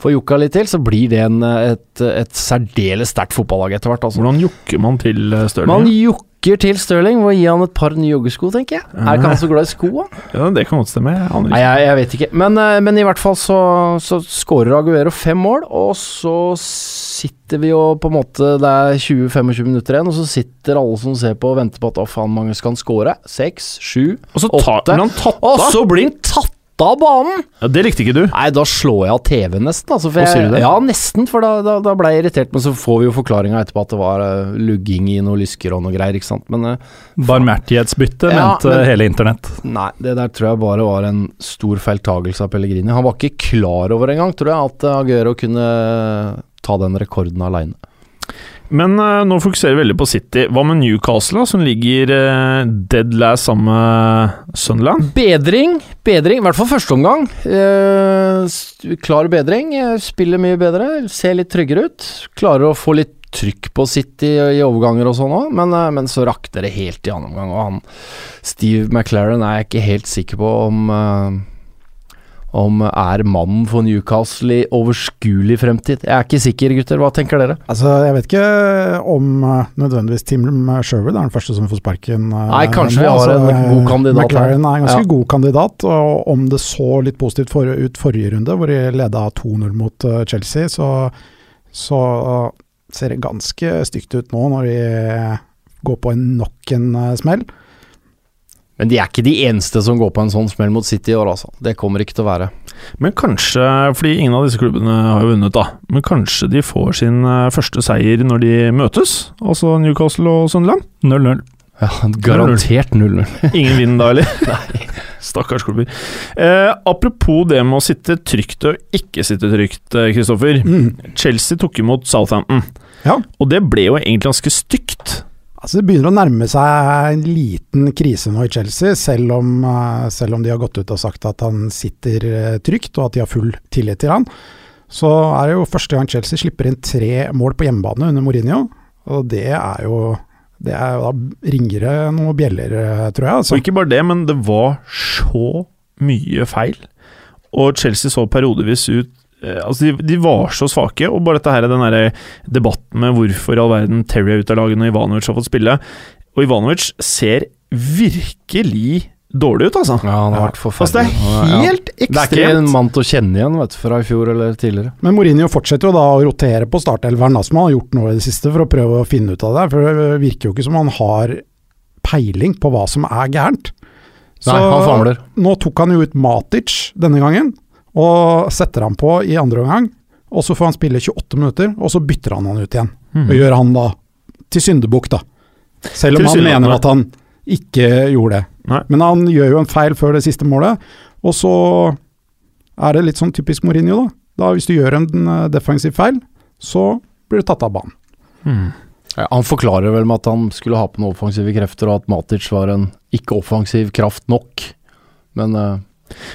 få jukka litt til. Så blir det en, eh, et, et særdeles sterkt fotballag etter hvert. Altså. Hvordan jukker man til eh, Man Stirling? jukker til Stirling ved å gi han et par nye joggesko, tenker jeg. Er ikke han så glad i sko, da? Ja, det kan godt stemme. Jeg aner Nei, ikke. jeg, jeg vet ikke. Men, eh, men i hvert fall så, så skårer Aguero fem mål, og så sitter vi jo på en måte Det er 20-25 minutter igjen, og så sitter alle som ser på og venter på at å faen, mange skal han skåre? Seks, sju, Og så tar åtte. blir han tatt Og av! så blir han tatt av banen! Ja, det likte ikke du. Nei, da slår jeg av TV nesten. Altså, for Hva jeg, sier du det? Ja, nesten, for da, da, da ble jeg irritert. Men så får vi jo forklaringa etterpå at det var eh, lugging i noe lysker og noe greier, ikke sant. Men eh, Barmhjertighetsbytte, Ja, mente men- hele internett. Nei, det der tror jeg bare var en stor feiltagelse av Pellegrini. Han var ikke klar over engang, tror jeg, at Aguero kunne ta den rekorden aleine. Men eh, nå fokuserer vi veldig på City. Hva med Newcastle, da, som ligger eh, dead last sammen med Sunderland? Bedring, bedring, i hvert fall første omgang. Eh, s- klar bedring. eh, Spiller mye bedre, ser litt tryggere ut. Klarer å få litt trykk på City i overganger og sånn òg, men, eh, men så rakner det helt i annen omgang. Og han Steve McLaren er jeg ikke helt sikker på om eh, om er mannen for Newcastle i overskuelig fremtid. Jeg er ikke sikker, gutter. Hva tenker dere? Altså, jeg vet ikke om eh, nødvendigvis Tim Sherwood er den første som får sparken. eh, Nei, kanskje vi har en god kandidat her. McLaren er en ganske Ja. god kandidat, og om det så litt positivt for, ut forrige runde, hvor de leda 2-0 mot eh, Chelsea, så, så eh, ser det ganske stygt ut nå når de eh, går på en nok en eh, smell. Men de er ikke de eneste som går på en sånn smell mot City i år, altså. Det kommer ikke til å være. Men kanskje, fordi ingen av disse klubbene har jo vunnet, da. Men kanskje de får sin eh, første seier når de møtes, altså Newcastle og Sunderland? 0-0. Ja, garantert 0-0. Ingen vinner da, eller? Stakkars klubber. Eh, apropos det med å sitte trygt og ikke sitte trygt, eh, Kristoffer. Mm. Chelsea tok imot Southampton, Ja. og det ble jo egentlig ganske stygt. Altså Det begynner å nærme seg en liten krise nå i Chelsea, selv om, eh, selv om de har gått ut og sagt at han sitter eh, trygt, og at de har full tillit til han. Så er det jo første gang Chelsea slipper inn tre mål på hjemmebane under Mourinho, og det er jo det er, jo- Da ringer det noen bjeller, eh, tror jeg. Så. Altså. Og ikke bare det, men det var så mye feil. Og Chelsea så periodevis ut eh, Altså, de, de var så svake. Og bare dette her, den derre debatten med hvorfor i all verden Terry er ute av laget når Ivanovic har fått spille. Og Ivanovic ser virkelig dårlig ut, altså. Ja, han har Ja. vært forferdelig. Altså, det er helt Det er ikke en ekstremt. mann til å kjenne igjen, vet du, fra i fjor eller tidligere. Men Mourinho fortsetter jo da å rotere på startelveren, da, som han har gjort nå i det siste, for å prøve å finne ut av det. For det virker jo ikke som han har peiling på hva som er gærent. Så- Nei, han famler. Nå tok han jo ut Matic denne gangen, og setter han på i andre omgang. Og så får han spille 28 minutter, og så bytter han han ut igjen. Og gjør han da til syndebukk, da. Selv om han Tilsynelatende. mener at han ikke gjorde det. Nei. Men han gjør jo en feil før det siste målet, og så er det litt sånn typisk Mourinho, da. da hvis du gjør en eh, defensiv feil, så blir du tatt av banen. Mm. Ja, han forklarer vel med at han skulle ha på noen offensive krefter, og at Matic var en ikke-offensiv kraft nok. Men eh,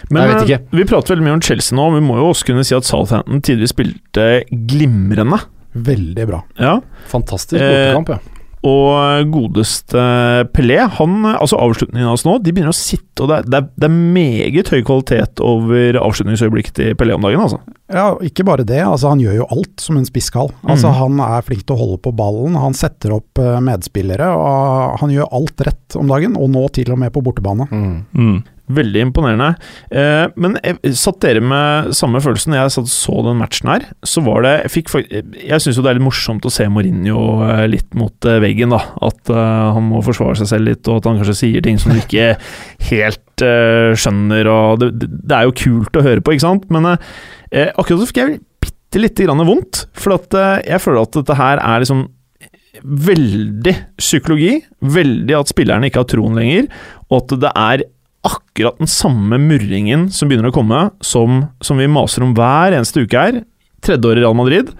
Men Jeg vet eh, vi prater veldig mye om Chelsea nå, men vi må jo også kunne si at Southampton tidvis spilte glimrende. Veldig bra. Ja. fantastisk Eh, bortekamp, ja. Og eh, godeste Pelé, han, altså avslutningen hans nå, de begynner å sitte, og det er, det er, det er meget høy kvalitet over avslutningsøyeblikket til Pelé om dagen, altså. Ja, ikke bare det. Altså, han gjør jo alt som en spiss skal. Altså, Han er flink til å holde på ballen, han setter opp eh, medspillere. og Han gjør alt rett om dagen, og nå til og med på bortebane. Mm. Mm. Veldig imponerende. Eh, men jeg, satt dere med samme følelsen når jeg satt og så den matchen her? Så var det Jeg, fikk fak- jeg syns jo det er litt morsomt å se Mourinho eh, litt mot eh, veggen, da. At eh, han må forsvare seg selv litt, og at han kanskje sier ting som du ikke helt eh, skjønner. Og det, det- det er jo kult å høre på, ikke sant? Men eh, eh, akkurat så fikk jeg bitte lite grann vondt, for at, eh, jeg føler at dette her er liksom Veldig psykologi, veldig at spillerne ikke har troen lenger, og at det er akkurat den samme murringen som begynner å komme, som, som vi maser om hver eneste uke her. Tredje år i Real Madrid.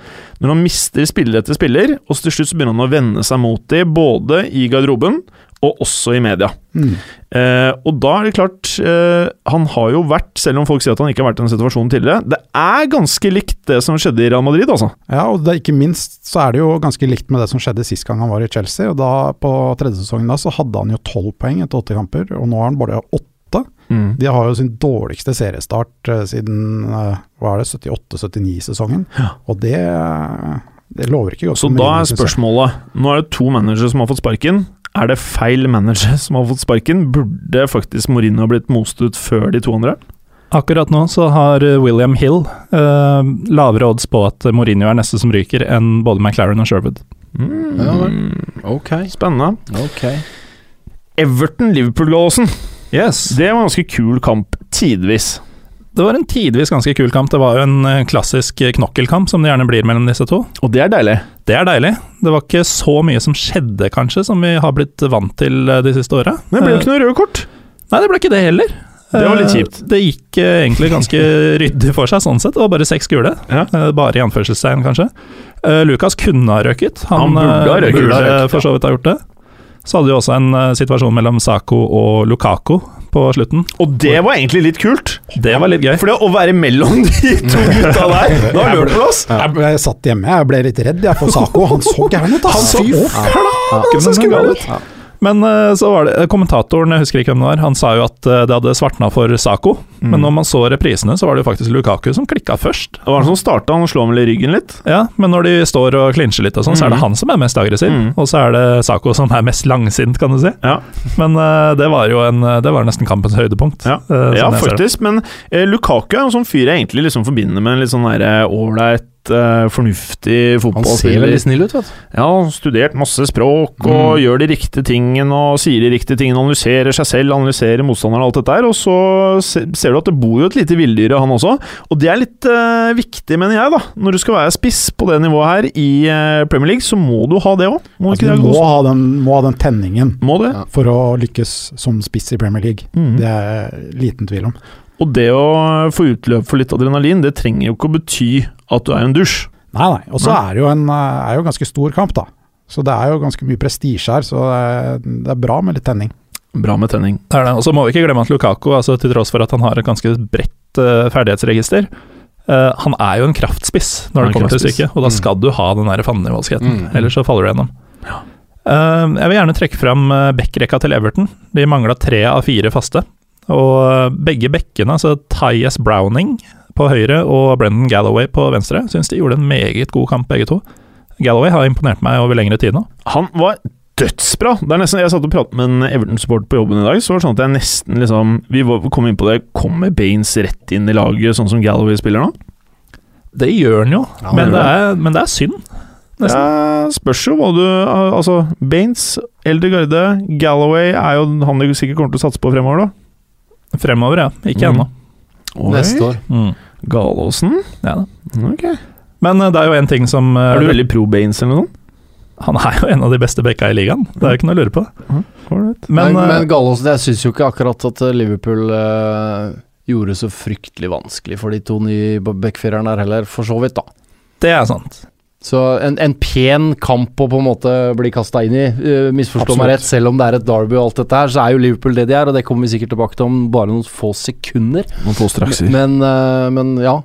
Når han mister spiller etter spiller, og så til slutt så begynner han å vende seg mot dem, både i garderoben og også i media. Mm. Eh, og da er det klart eh, Han har jo vært, selv om folk sier at han ikke har vært i den situasjonen tidligere, det er ganske likt det som skjedde i Real Madrid, altså. Ja, og det, ikke minst så er det jo ganske likt med det som skjedde sist gang han var i Chelsea. og da På tredje sesongen da så hadde han jo tolv poeng etter åtte kamper, og nå har han bare åtte. De har jo sin dårligste seriestart eh, siden eh, hva er det, 78-79-sesongen, og det, eh, det lover ikke godt. Så for da er Mourinho, synes jeg. spørsmålet Nå er det to managere som har fått sparken. Er det feil manager som har fått sparken? Burde faktisk Mourinho blitt most ut før de to andre? Akkurat nå så har eh, William Hill eh, lavere odds på at Mourinho er neste som ryker, enn både McLaren og Sherwood. Ja vel. Ok, Mm. Spennende. ok. Everton-Liverpool-låsen. Yes. Det var en ganske kul kamp, tidvis. Det var en tidvis ganske kul kamp. Det var jo en eh, klassisk eh, knokkelkamp, som det gjerne blir mellom disse to. Og det er deilig. Det er deilig. Det var ikke så mye som skjedde, kanskje, som vi har blitt vant til eh, de siste åra. Eh, Men det ble jo ikke noe røde kort. Nei, det ble ikke det heller. Det var litt Eh, kjipt. Det gikk eh, egentlig ganske ryddig for seg, sånn sett. Det var bare seks gule. Ja. Eh, Bare i anførselstegn, kanskje. Eh, Lucas kunne ha røket. Han burde ha eh, røket. burde Burde ha røket, for så vidt ha gjort det. Så hadde vi også en eh, situasjon mellom Sako og Lukako på slutten. Og det var egentlig litt kult. Det var litt gøy. For det å være mellom de to gutta der Da gjør det plass! Jeg, ble- jeg satt hjemme, jeg ble litt redd jeg for Sako. Han så gæren ut, ass! Han Å, så fy faen. Ikke så noe skummel galt. ut. Ja. Men eh, så var det kommentatoren, jeg husker ikke hvem det var, han sa jo at eh, det hadde svartna for Sako. Mm. Men når man så reprisene, så var det jo faktisk Lukaku som klikka først. Det var han som starta, han slo ham vel i ryggen litt. Ja, Men når de står og klinsjer litt, og sånn, så er det han som er mest aggressiv. Mm. Og så er det Sako som er mest langsint, kan du si. Ja. Men eh, det var jo en, det var nesten kampens høydepunkt. Ja. eh, sånn ja, jeg ser det. faktisk, men eh, Lukaku er en sånn fyr jeg egentlig liksom forbinder med en litt sånn derre ålreit, eh, fornuftig Han ser fotballspiller. veldig snill ut, vet du. Ja, han har studert masse språk og gjør de riktige tingene og sier de riktige tingene, analyserer seg selv, analyserer motstanderen og alt dette her. Og så se- ser du at det bor jo et lite villdyr i han også, og det er litt eh, viktig, mener jeg, da. Når du skal være spiss på det nivået her i eh, Premier League, så må du ha det òg. Må Altså, ikke det du må gå ha, den, må ha den tenningen må det. Ja. for å lykkes som spiss i Premier League. Mm. Mhm. Det er liten tvil om. Og det å få utløp for litt adrenalin, det trenger jo ikke å bety at du er en dusj. Nei, nei. Og så Nei. er det jo en eh, er jo ganske stor kamp, da. Så det er jo ganske mye prestisje her, så det er, det er bra med litt tenning. Bra med tenning. Det er det. Og så må vi ikke glemme at Lukaku, altså, til tross for at han har et ganske bredt eh, ferdighetsregister, eh, han er jo en kraftspiss Han når er det kommer til kraftspiss. stykket, og da skal du ha den der fandenivoldskheten, Mm. ellers så faller du gjennom. Eh, jeg vil gjerne trekke fram eh, backrekka til Everton. De mangla tre av fire faste. Og eh, begge bekkene, altså Tyes Browning på høyre og Brendan Galloway på venstre, syns de gjorde en meget god kamp, begge to. Galloway har imponert meg over lengre tid nå. Han var dødsbra! Det er nesten, jeg satt og pratet med en Everton-supporter på jobben i dag, så var det sånn at jeg nesten liksom Vi var- kom inn på det. Kommer Baines rett inn i laget, sånn som Galloway spiller nå? Det gjør han jo, Ja, men, det det gjør er, men det er synd. Nesten. Ja, spørs jo hva du Altså, Baines, eldre garde, Galloway er jo han du sikkert kommer til å satse på fremover, da. Fremover, ja. Ikke Mm. ennå. Neste år. Galåsen? Ja, da. Ok. Men eh, det er jo en ting som eh, Er du veldig pro Baines eller noe sånt? Han er jo en av de beste bekka i ligaen, det er jo ikke noe å lure på. Mm. Ålreit. Men, Men, men, eh, Gallaasen, jeg syns jo ikke akkurat at eh, Liverpool eh, gjorde så fryktelig vanskelig for de to nye backfirerne her heller, for så vidt, da. det er sant. Så en, en pen kamp å på en måte bli kasta inn i. eh, misforstå meg Absolutt. rett, selv om det er et derby og alt dette her, så er jo Liverpool det de er, og det kommer vi sikkert tilbake til om bare noen få sekunder. Noen få strakser. Men, eh, men ja.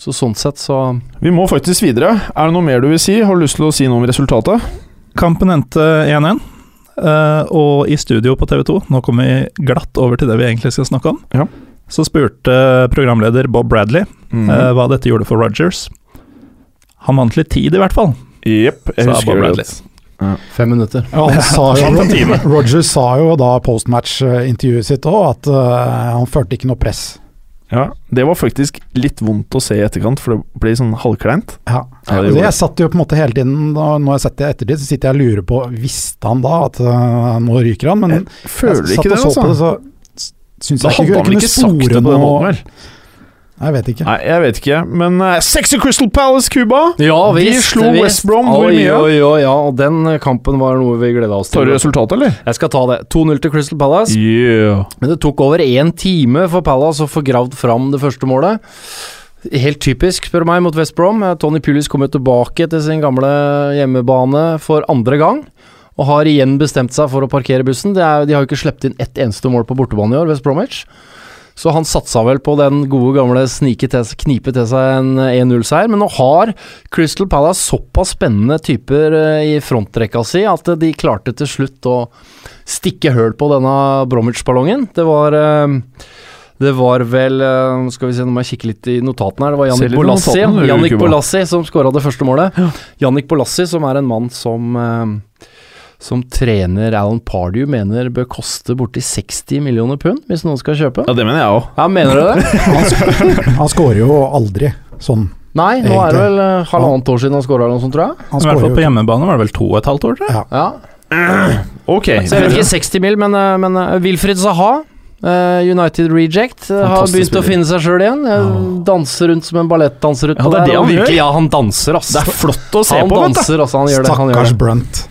Så sånn sett, så Vi må faktisk videre. Er det noe mer du vil si? Har du lyst til å si noe om resultatet? Kampen endte 1-1, eh, og i studio på TV 2, nå kommer vi glatt over til det vi egentlig skal snakke om, Ja. så spurte programleder Bob Bradley Mm. eh, hva dette gjorde for Rogers. Han vant litt tid, i hvert fall, Jepp. jeg sa husker Bob det. Bradley. fem minutter. Ja, han sa jo, Roger sa jo da postmatch-intervjuet sitt òg at eh, han følte ikke noe press. Ja, Det var faktisk litt vondt å se i etterkant, for det ble sånn halvkleint. Ja. Ja, det Altså, gjorde det. jeg satt jo på en måte hele tiden, da, når jeg har sett det i ettertid, så sitter jeg og lurer på Visste han da at eh, nå ryker han? Men Jeg føler jeg ikke det, satt og så altså. på det, så syns Da jeg hadde ikke jeg han kunne ikke sagt det spore på den måten, noe vel? Jeg vet ikke. Nei, jeg vet ikke, men eh, Sexy Crystal Palace Cuba! Ja De visst! slo visst. West Brom, hvor Oi, mye? Oi, oi, ja, og den kampen var noe vi gleda oss Tar til. du resultatet, eller? Jeg skal ta det. 2-0 til Crystal Palace. Yeah. Men det tok over én time for Palace å få gravd fram det første målet. Helt typisk, spør du meg, mot West Brom. Tony Pulis kom jo tilbake til sin gamle hjemmebane for andre gang. Og har igjen bestemt seg for å parkere bussen. Det er, de har jo ikke sluppet inn ett eneste mål på bortebane i år, West Bromwich. Så han satsa vel på den gode gamle snike til, knipe til seg en 1-0-seier. Men nå har Crystal Palace såpass spennende typer eh, i frontrekka si at eh, de klarte til slutt å stikke høl på denne Bromwich-ballongen. Det var eh, det var vel eh, Skal vi se, nå må jeg kikke litt i notatene her. Det var Se Jannik litt i Bolassi, ja. notatene, du, Jannik Kuba. Bolassi som skåra det første målet. Jannik Bolassi, som er en mann som eh, som trener Alan Pardew mener bør koste borti 60 millioner pund, hvis noen skal kjøpe. Ja, det mener jeg òg. Ja, mener du det? Han, sk han skårer jo aldri sånn. Nei, nå er Egentlig. det vel eh, halvannet år siden han skåra eller noe sånt, tror jeg. Han I hvert skårer fall på jo hjemmebane var det vel to og et halvt år, tror jeg. Ja. Ok. Så jeg vet ikke 60 mil, men, eh, men eh, Wilfried Zaha, eh, United Reject, eh, har Fantastisk begynt å spiller. finne seg sjøl igjen. Eh, Danser rundt som en ballettdanser utpå Ja, det er det han og gjør. virkelig- Ja, han danser, ass. Det er flott å se han på, vet du. danser, altså. Han gjør det. Han, gjør Stakkars det. Brunt.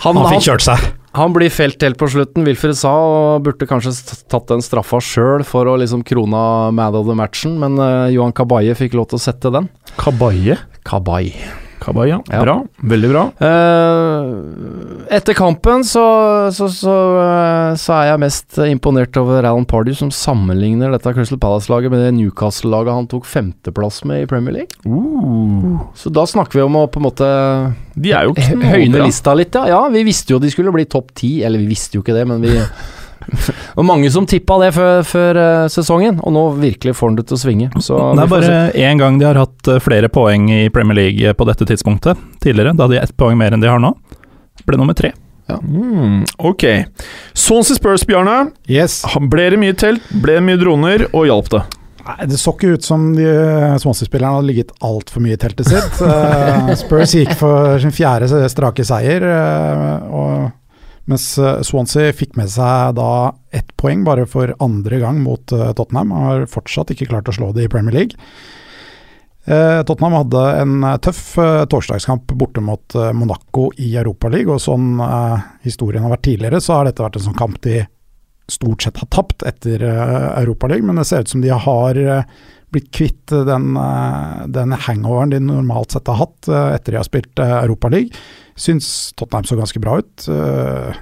Han, Han han, fikk kjørt seg. han blir felt helt på slutten, Wilfried Zaha, og burde kanskje s- tatt den straffa sjøl for å liksom krona mad of the matchen, men eh, Johan Kabaye fikk lov til å sette den. Kabaye. Kabaye. Kabaya. Ja. Bra. Veldig bra. Eh, etter kampen så, så, så, eh, så er jeg mest imponert over Alan Pardew, som sammenligner dette Crystal Palace-laget med det Newcastle-laget han tok femteplass med i Premier League. Så da snakker vi om å på en måte Uh, De er jo høyne knallbra. lista litt, ja. ja. Vi visste jo de skulle bli topp ti, eller vi visste jo ikke det, men vi Det var mange som tippa det før, før eh, sesongen, og nå virkelig får han det til å svinge. Så Det vi er får bare se. én gang de har hatt eh, flere poeng i Premier League eh, på dette tidspunktet tidligere. Da hadde de ett poeng mer enn de har nå. Ble nummer tre. Mm, ok. Swansea Spurs, Bjarne. Yes. Han ble det mye telt, ble det mye droner, og hjalp det. Nei, Det så ikke ut som de Swansea-spillerne hadde ligget altfor mye i teltet sitt. Eh, Spurs gikk for sin fjerde strake seier, eh, og, mens eh, Swansea fikk med seg da ett poeng bare for andre gang mot eh, Tottenham. Har fortsatt ikke klart å slå det i Premier League. Eh, Tottenham hadde en eh, tøff eh, torsdagskamp borte mot eh, Monaco i Europaligaen, og sånn eh, historien har vært tidligere, så har dette vært en sånn kamp de stort sett har tapt etter eh, Europa League, men det ser ut som de har eh, blitt kvitt eh, den, eh, den hangoveren de normalt sett har hatt eh, etter de har spilt eh, Europa League. Syns Tottenham så ganske bra ut. Eh,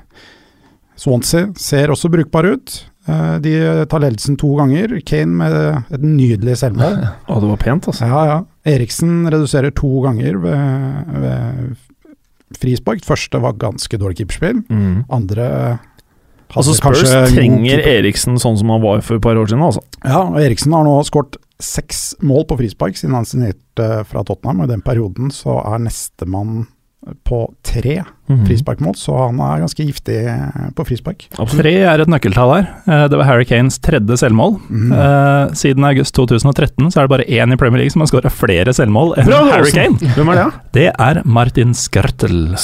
Swansea ser også brukbar ut. Eh, De tar ledelsen to ganger. Kane med et nydelig selvmål. Å, det var pent, altså. Ja, ja. Eriksen reduserer to ganger ved, ved frispark. Første var ganske dårlig keeperspill. Mm. Andre hadde Altså, Spurs kanskje god trenger keeper. Eriksen sånn som han var for et par år siden, altså. Ja, og Eriksen har nå skåret seks mål på frispark siden han signerte fra Tottenham. og I den perioden så er nestemann på tre Mhm. frisparkmål, så han er ganske giftig på frispark. Tre er et nøkkeltall her. Eh, Det var Harry Kanes tredje selvmål. Mm. Eh, Siden august 2013 så er det bare én i Premier League som har skåra flere selvmål enn Harry Kane. Hvem er det, da? Det er Martin Skrtel,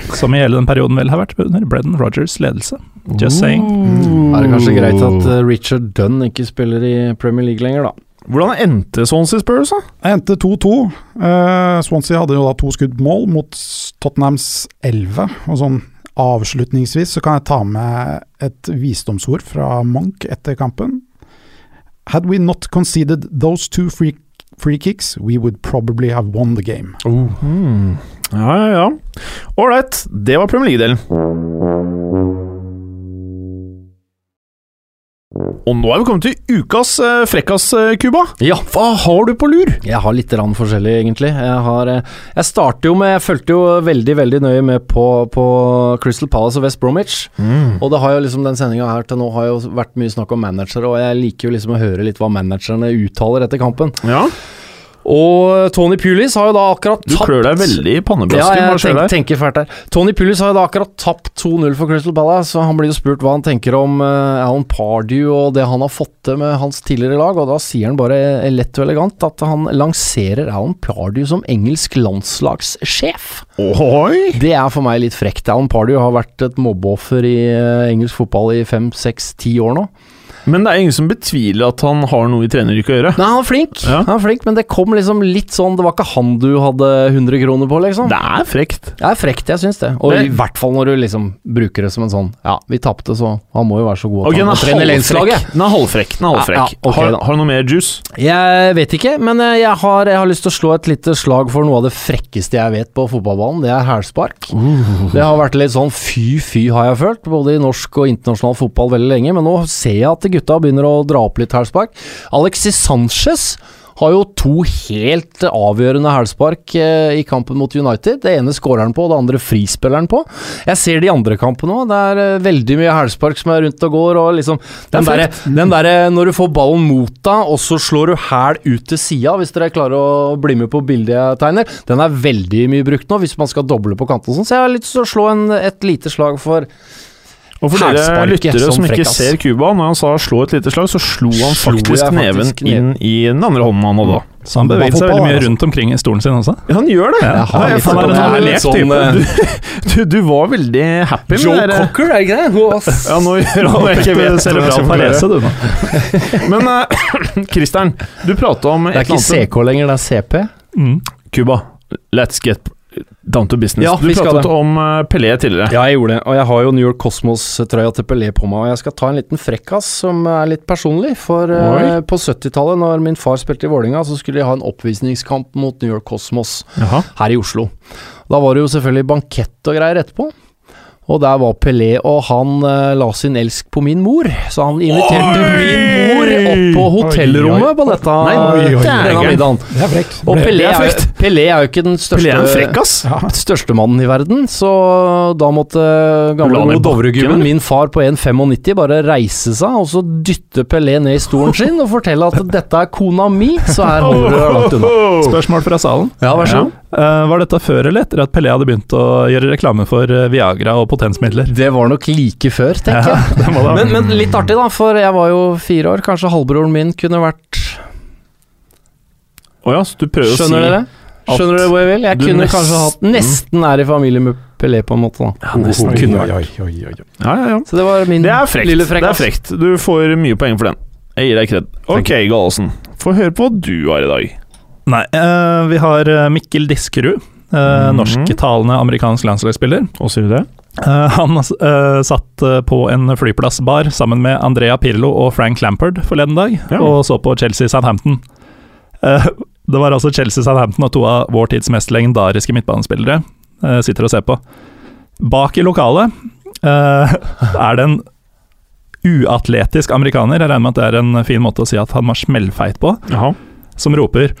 som i hele den perioden vel har vært under Brendan Rogers' ledelse. Just saying. Mm. er det kanskje greit at eh, Richard Dunn ikke spiller i Premier League lenger, da. Hvordan endte Swansea Spurs, da? Det endte 2-2. Eh, Swansea hadde jo da to skudd på mål mot Tottenhams 11. Og sånn avslutningsvis så kan jeg ta med et visdomsord fra Monk etter kampen. Had we not conceded those two free, free kicks, we would probably have won the game. Mm. Ja, ja, ja. Ålreit, det var Premier League-delen. Og nå er vi kommet til ukas eh, frekkas, eh, Cuba. Ja. Hva har du på lur? Jeg har litt rann forskjellig, egentlig. Jeg, har, eh, jeg starter jo med Jeg fulgte jo veldig veldig nøye med på, på Crystal Palace og West Bromwich. Og det har jo liksom den sendinga her til nå har jo vært mye snakk om managere, og jeg liker jo liksom å høre litt hva managerne uttaler etter kampen. Ja, Og Tony Pulis har jo da akkurat Du klør deg veldig i ja, panneblasken. jeg hva skjer tenk, der? tenker fælt der. Tony Pulis har jo da akkurat tapt 2-0 for Crystal Palace, og han blir jo spurt hva han tenker om eh, Alan Pardew og det han har fått til med hans tidligere lag, og da sier han bare eh, lett og elegant at han lanserer Alan Pardew som engelsk landslagssjef. Oi! Det er for meg litt frekt. Alan Pardew har vært et mobbeoffer i eh, engelsk fotball i fem, seks, ti år nå. Men det er ingen som betviler at han har noe i treneryrket å gjøre. Nei, han er flink, Ja. han er flink, men det kom liksom litt sånn Det var ikke han du hadde 100 kroner på, liksom. Det er frekt. Det er frekt, jeg syns det. Og Det- i hvert fall når du liksom bruker det som en sånn Ja, vi tapte, så han må jo være så god Ok, at den han er må trene landslaget. halvfrekk. Den er halvfrekk. Den er Ja, halvfrekk. ja, ok har, da. har du noe mer juice? Jeg vet ikke, men eh, jeg har, jeg har lyst til å slå et lite slag for noe av det frekkeste jeg vet på fotballbanen. Det er hælspark. Det har vært litt sånn fy-fy, har jeg følt, både i norsk og internasjonal fotball veldig lenge. Men nå ser jeg at gutta begynner å dra opp litt hælspark. Alexis Sanchez har jo to helt avgjørende hælspark eh, i kampen mot United. Det ene skårer han på, det andre frispiller han på. Jeg ser de andre kampene òg. Det er eh, veldig mye hælspark som er rundt og går, og liksom Den derre der, når du får ballen mot deg, og så slår du hæl ut til sida, hvis dere klarer å bli med på bildet jeg tegner, den er veldig mye brukt nå, hvis man skal doble på kanten og sånn. Så jeg har lyst til å slå en, et lite slag for Og for dere Hælsparket lyttere som som ikke frekkas. ser Cuba, når han sa 'slå et lite slag', så slo han Slo jeg faktisk faktisk neven ned. inn i den andre hånden han hadde. Så han beveger seg veldig mye rundt omkring i stolen sin også. Ja, han gjør det! Ja, han er litt føler sånn- at han han er er litt lert type. sånn, Du, du, du var veldig happy med det. der. Cocker, er det ikke det? Ja, nå gjør han det ikke vet Cerebral hva jeg parese, skal du nå. forklare. Men eh, Christern, du prata om Det er ikke CK lenger, det er CP. Mm. Cuba. Let's get down to business. Ja, du vi skal pratet det. om eh, Pelé tidligere. Ja, jeg gjorde det, og jeg har jo New York Cosmos-trøya til Pelé på meg, og jeg skal ta en liten frekkas som er litt personlig, for eh, på 70-tallet, når min far spilte i Vålinga, så skulle de ha en oppvisningskamp mot New York Cosmos Jaha. her i Oslo. Da var det jo selvfølgelig bankett og greier etterpå. Og der var Pelé, og han eh, la sin elsk på min mor, så han inviterte min mor opp på hotellrommet på dette Nei, oi, oi, denne oi. middagen. Det er frekt. Og Pelé er er, jo- frekt. Pelé er jo ikke den største Pelé er en frekk, ass! Ja. største mannen i verden, så da måtte La gamle han i gode bakken, Dovregubben, min far på 1,95, bare reise seg og så dytte Pelé ned i stolen sin og fortelle at dette er kona mi, så her holder du deg langt unna. Spørsmål fra salen. Oh. Ja, vær så så god. god. Eh, var dette før eller etter at Pelé hadde begynt å gjøre reklame for eh, Viagra og potensmidler? Det var nok like før, tenker jeg. Det må det ha Men, men litt artig, da, for jeg var jo fire år. Kanskje halvbroren min kunne vært Å ja, så du prøver Skjønner å si dere? at Skjønner dere hvor jeg vil? Jeg du kunne kanskje hatt nesten- Mm. Nesten er i familie med Pelé, på en måte, da. Ja, nesten kunne vært. Oi, oi, oi, oi. Ja, ja, ja. Så det var min Det er frekt. lille altså. Det er frekkas. frekt. Du får mye poeng for den. Jeg gir deg kred. Ok, Galesen. Få høre på hva du har i dag. Nei, eh, vi har eh, Mikkel Diskerud. Mhm. eh, Norsktalende amerikansk landslagsspiller. Hva sier du det? Eh, han eh, satt eh, på en flyplassbar sammen med Andrea Pirlo og Frank Lampard forleden dag, Ja. og så på Chelsea Southampton. Eh, det var altså Chelsea Southampton og to av vår tids mest legendariske midtbanespillere eh, sitter og ser på. Bak i lokalet eh, er det en uatletisk amerikaner, jeg regner med at det er en fin måte å si at han var smellfeit på, Jaha. som roper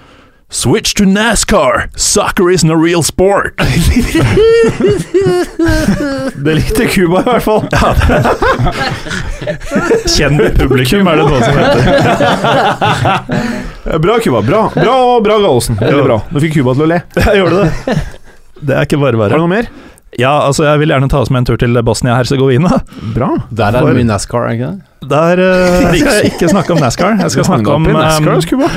Switch to NASCAR! Soccer isn't a real sport! Det likte Cuba i hvert fall. Kjenn ditt publikum, er det noe som heter. Bra, Cuba. Bra Bra og bra, Galesen. Veldig bra. Nå fikk Cuba til å le. Jeg gjorde det. Det er ikke bare Har bare. du noe mer? Ja, altså, jeg vil gjerne ta oss med en tur til Bosnia-Hercegovina. Bra. Der er det mye NASCAR, er det ikke det? Der eh, skal jeg ikke snakke om NASCAR. Jeg skal snakke om eh, Cuba.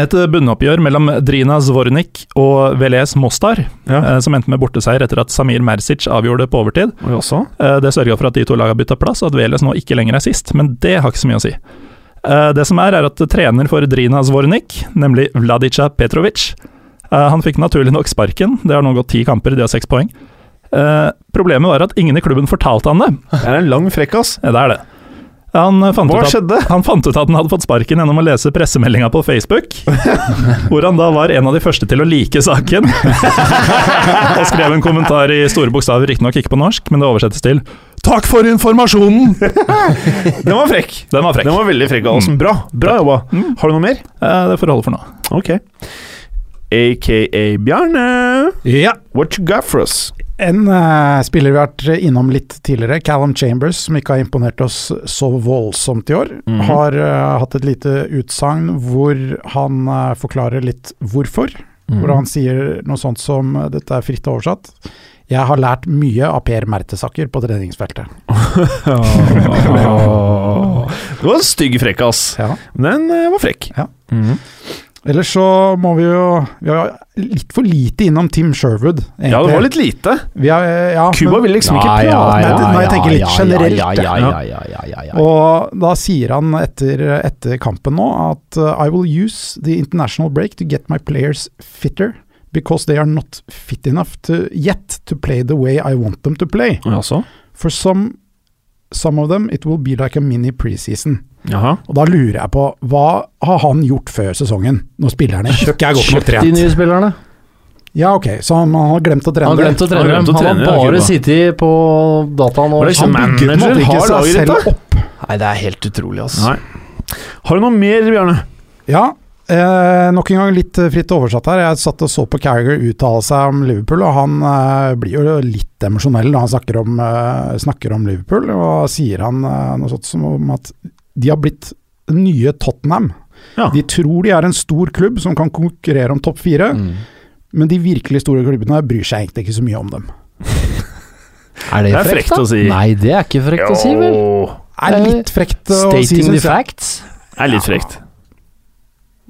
et bunnoppgjør mellom Drina Zvornik og Velez Mostar, Ja. eh, som endte med borteseier etter at Samir Mersic avgjorde på overtid. Og jeg også. Eh, Det sørga for at de to lagene bytta plass, og at Veles nå ikke lenger er sist, men det har ikke så mye å si. Eh, Det som er, er at trener for Drina Zvornik, nemlig Vladica Petrovic eh, Han fikk naturlig nok sparken, det har nå gått ti kamper, de har seks poeng. Eh, Problemet var at ingen i klubben fortalte han det. Det er en lang frekkas. Ja, Det er det. Han eh, fant, Hva ut at, skjedde? han fant ut at han hadde fått sparken gjennom å lese pressemeldinga på Facebook, hvor han da var en av de første til å like saken. og skrev en kommentar i store bokstaver, riktignok ikke på norsk, men det oversettes til 'Takk for informasjonen'! Den var frekk. Mm. Den var frekk. Den var veldig frekk, Galesen. Bra. Bra jobba. Har du noe mer? Eh, Det får holde for nå. Ok. AKA Bjarne. Ja. What you got for us? En eh, spiller vi har vært innom litt tidligere, Callum Chambers, som ikke har imponert oss så voldsomt i år, Mhm. har eh, hatt et lite utsagn hvor han eh, forklarer litt hvorfor. Mm. Mhm. Hvor han sier noe sånt som eh, Dette er fritt oversatt. Jeg har lært mye av Per Mertesaker på treningsfeltet. Det var en stygg frekkas, Ja. men den eh, var frekk. Ja. Ellers så må vi jo Vi var litt for lite innom Tim Sherwood, egentlig. Ja, det var litt lite. Vi er, ja, Cuba men- vil liksom ikke Ja, prate. nei, nei, jeg tenker litt generelt, Ja, ja, ja. ja, ja, ja, ja, ja. Og da sier han etter, etter kampen nå at uh, I will use the international break to get my players fitter because they are not fit enough to, yet to play the way I want them to play. Jaså? For some, some of them it will be like a mini preseason. Jaha. Og da lurer jeg på, hva har han gjort før sesongen, når spillerne ikke er godt nok De trent? nye spillerne. Ja, ok, så han, han har glemt å trene Han glemte å Han trene dem. glemte å Han trene, har ja, bare Cuba. sittet på dataen og Var det ikke Han- meg? Bygger på en måte Manager ikke har seg laget selv dette. opp. Nei, det er helt utrolig, ass. Nei. Har du noe mer, Bjarne? Ja, eh, nok en gang litt eh, fritt oversatt her. Jeg satt og så på Carriager uttale seg om Liverpool, og han eh, blir jo litt emosjonell når han snakker om, eh, snakker om Liverpool, og sier han eh, noe sånt som om at de har blitt nye Tottenham. Ja. De tror de er en stor klubb som kan konkurrere om topp fire, Mm. men de virkelig store klubbene bryr seg egentlig ikke så mye om dem. Er det, Det er frekt, frekt da? å si. Nei, det er ikke frekt å si, vel? Jo, Det Eh, er litt frekt eh, å si, Stating the synes jeg. facts. Det er litt frekt.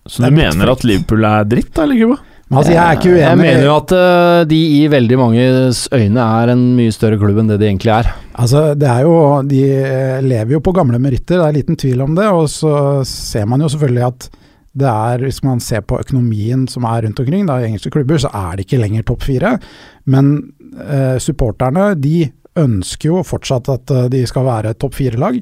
Så Det er du litt mener at Liverpool er dritt, da, eller Cuba? Men altså, jeg er ikke uenig. Jeg mener jo at eh, de i veldig manges øyne er en mye større klubb enn det de egentlig er. Altså, det er jo, De eh, lever jo på gamle meritter, det er liten tvil om det. Og så ser man jo selvfølgelig at det er, hvis man ser på økonomien som er rundt omkring da, i engelske klubber, så er det ikke lenger topp fire. Men eh, supporterne de ønsker jo fortsatt at eh, de skal være topp fire-lag,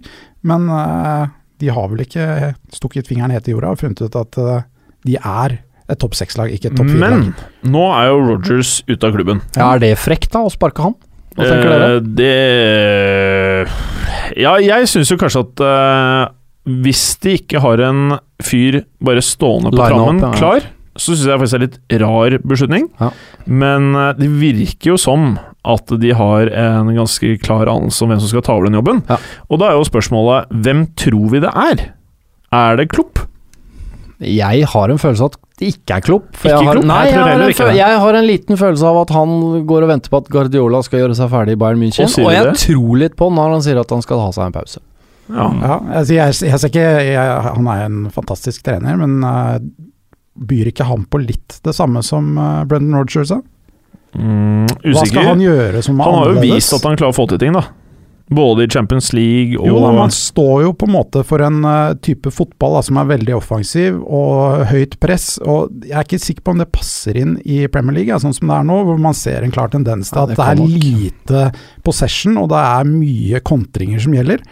men eh, de har vel ikke stukket fingeren helt i jorda og funnet ut at eh, de er et topp seks-lag, ikke et topp fire-lag. Men nå er jo Rogers ute av klubben. Ja. Er det frekt, da, å sparke han? Hva tenker dere? Eh, Det Ja, jeg syns jo kanskje at eh, hvis de ikke har en fyr bare stående på Line up, trammen ja. klar, så syns jeg faktisk det er litt rar beslutning. Ja. Men eh, det virker jo som at de har en ganske klar anelse om hvem som skal ta over den jobben. Ja. Og da er jo spørsmålet hvem tror vi det er? Er det Klopp? Jeg har en følelse av at det ikke er Klopp. Ikke jeg har, Klopp? Nei, Jeg jeg, tror har heller en, ikke føl- det. jeg har en liten følelse av at han går og venter på at Guardiola skal gjøre seg ferdig i Bayern München. Og sier Og jeg det. tror litt på han når han sier at han skal ha seg en pause. Ja. Ja, altså jeg, jeg ser ikke jeg, Han er en fantastisk trener, men eh, byr ikke han på litt det samme som eh, Brendan Rodgers? da? Mm, usikker. Hva skal han gjøre som er Han har jo annerledes? vist at han klarer å få til ting, da. Både i Champions League og jo, da, men Han står jo på en måte for en eh, type fotball da, som er veldig offensiv og høyt press. og Jeg er ikke sikker på om det passer inn i Premier League, ja, sånn som det er nå, hvor man ser en klar tendens til Ja, at det det kan er nok. lite possession og det er mye kontringer som gjelder.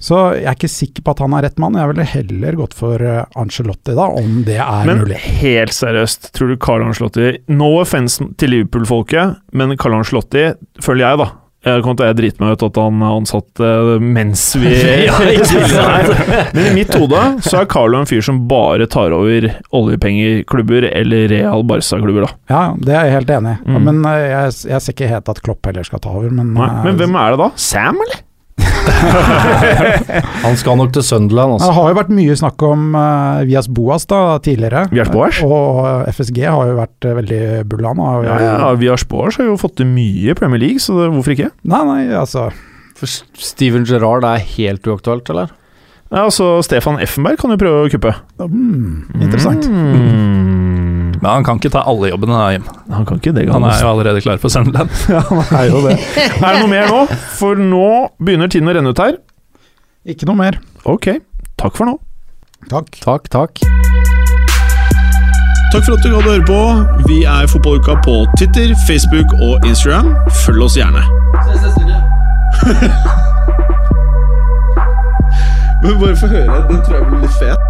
Så jeg er ikke sikker på at han er rett mann. Jeg ville heller gått for eh, Ancelotti, da, om det er Men mulig. helt seriøst, tror du Carl Arnslotti No offense til Liverpool-folket, men Carl Arnslotti føler jeg, da. Jeg kommer til å drite meg ut at han er ansatt eh, mens vi Men i mitt hode så er Carlo en fyr som bare tar over oljepengeklubber eller Real Barca-klubber, da. Ja, det er jeg helt enig i. Ja, Mm. Men eh, jeg, jeg ser ikke helt at Klopp heller skal ta over, men, Nei. Men eh, hvem er det da? Sam, eller? Han skal nok til Sunderland, altså. Det har jo vært mye snakk om eh, Vias Boas da, tidligere. Vias Boas? Og eh, FSG har jo vært eh, veldig bulla nå. Ja, ja, Via Spars har jo fått til mye i Premier League, så det, hvorfor ikke? Nei, nei, altså For S- Steven Gerrard er helt uaktuelt, eller? Ja, altså, Stefan Effenberg kan jo prøve å kuppe. mm, Interessant. Mm. Men han kan ikke ta alle jobbene, da, Jim. Han kan ikke det, Han er jo allerede klar for Sunderland. Er jo det. Er det noe mer nå? For nå begynner tiden å renne ut her. Ikke noe mer. Ok, takk for nå. Takk. Takk, takk. Takk for at du gadd å høre på. Vi er Fotballuka på Twitter, Facebook og Instagram. Følg oss gjerne. Ses neste uke. Men bare få høre. Den tror jeg blir litt fet.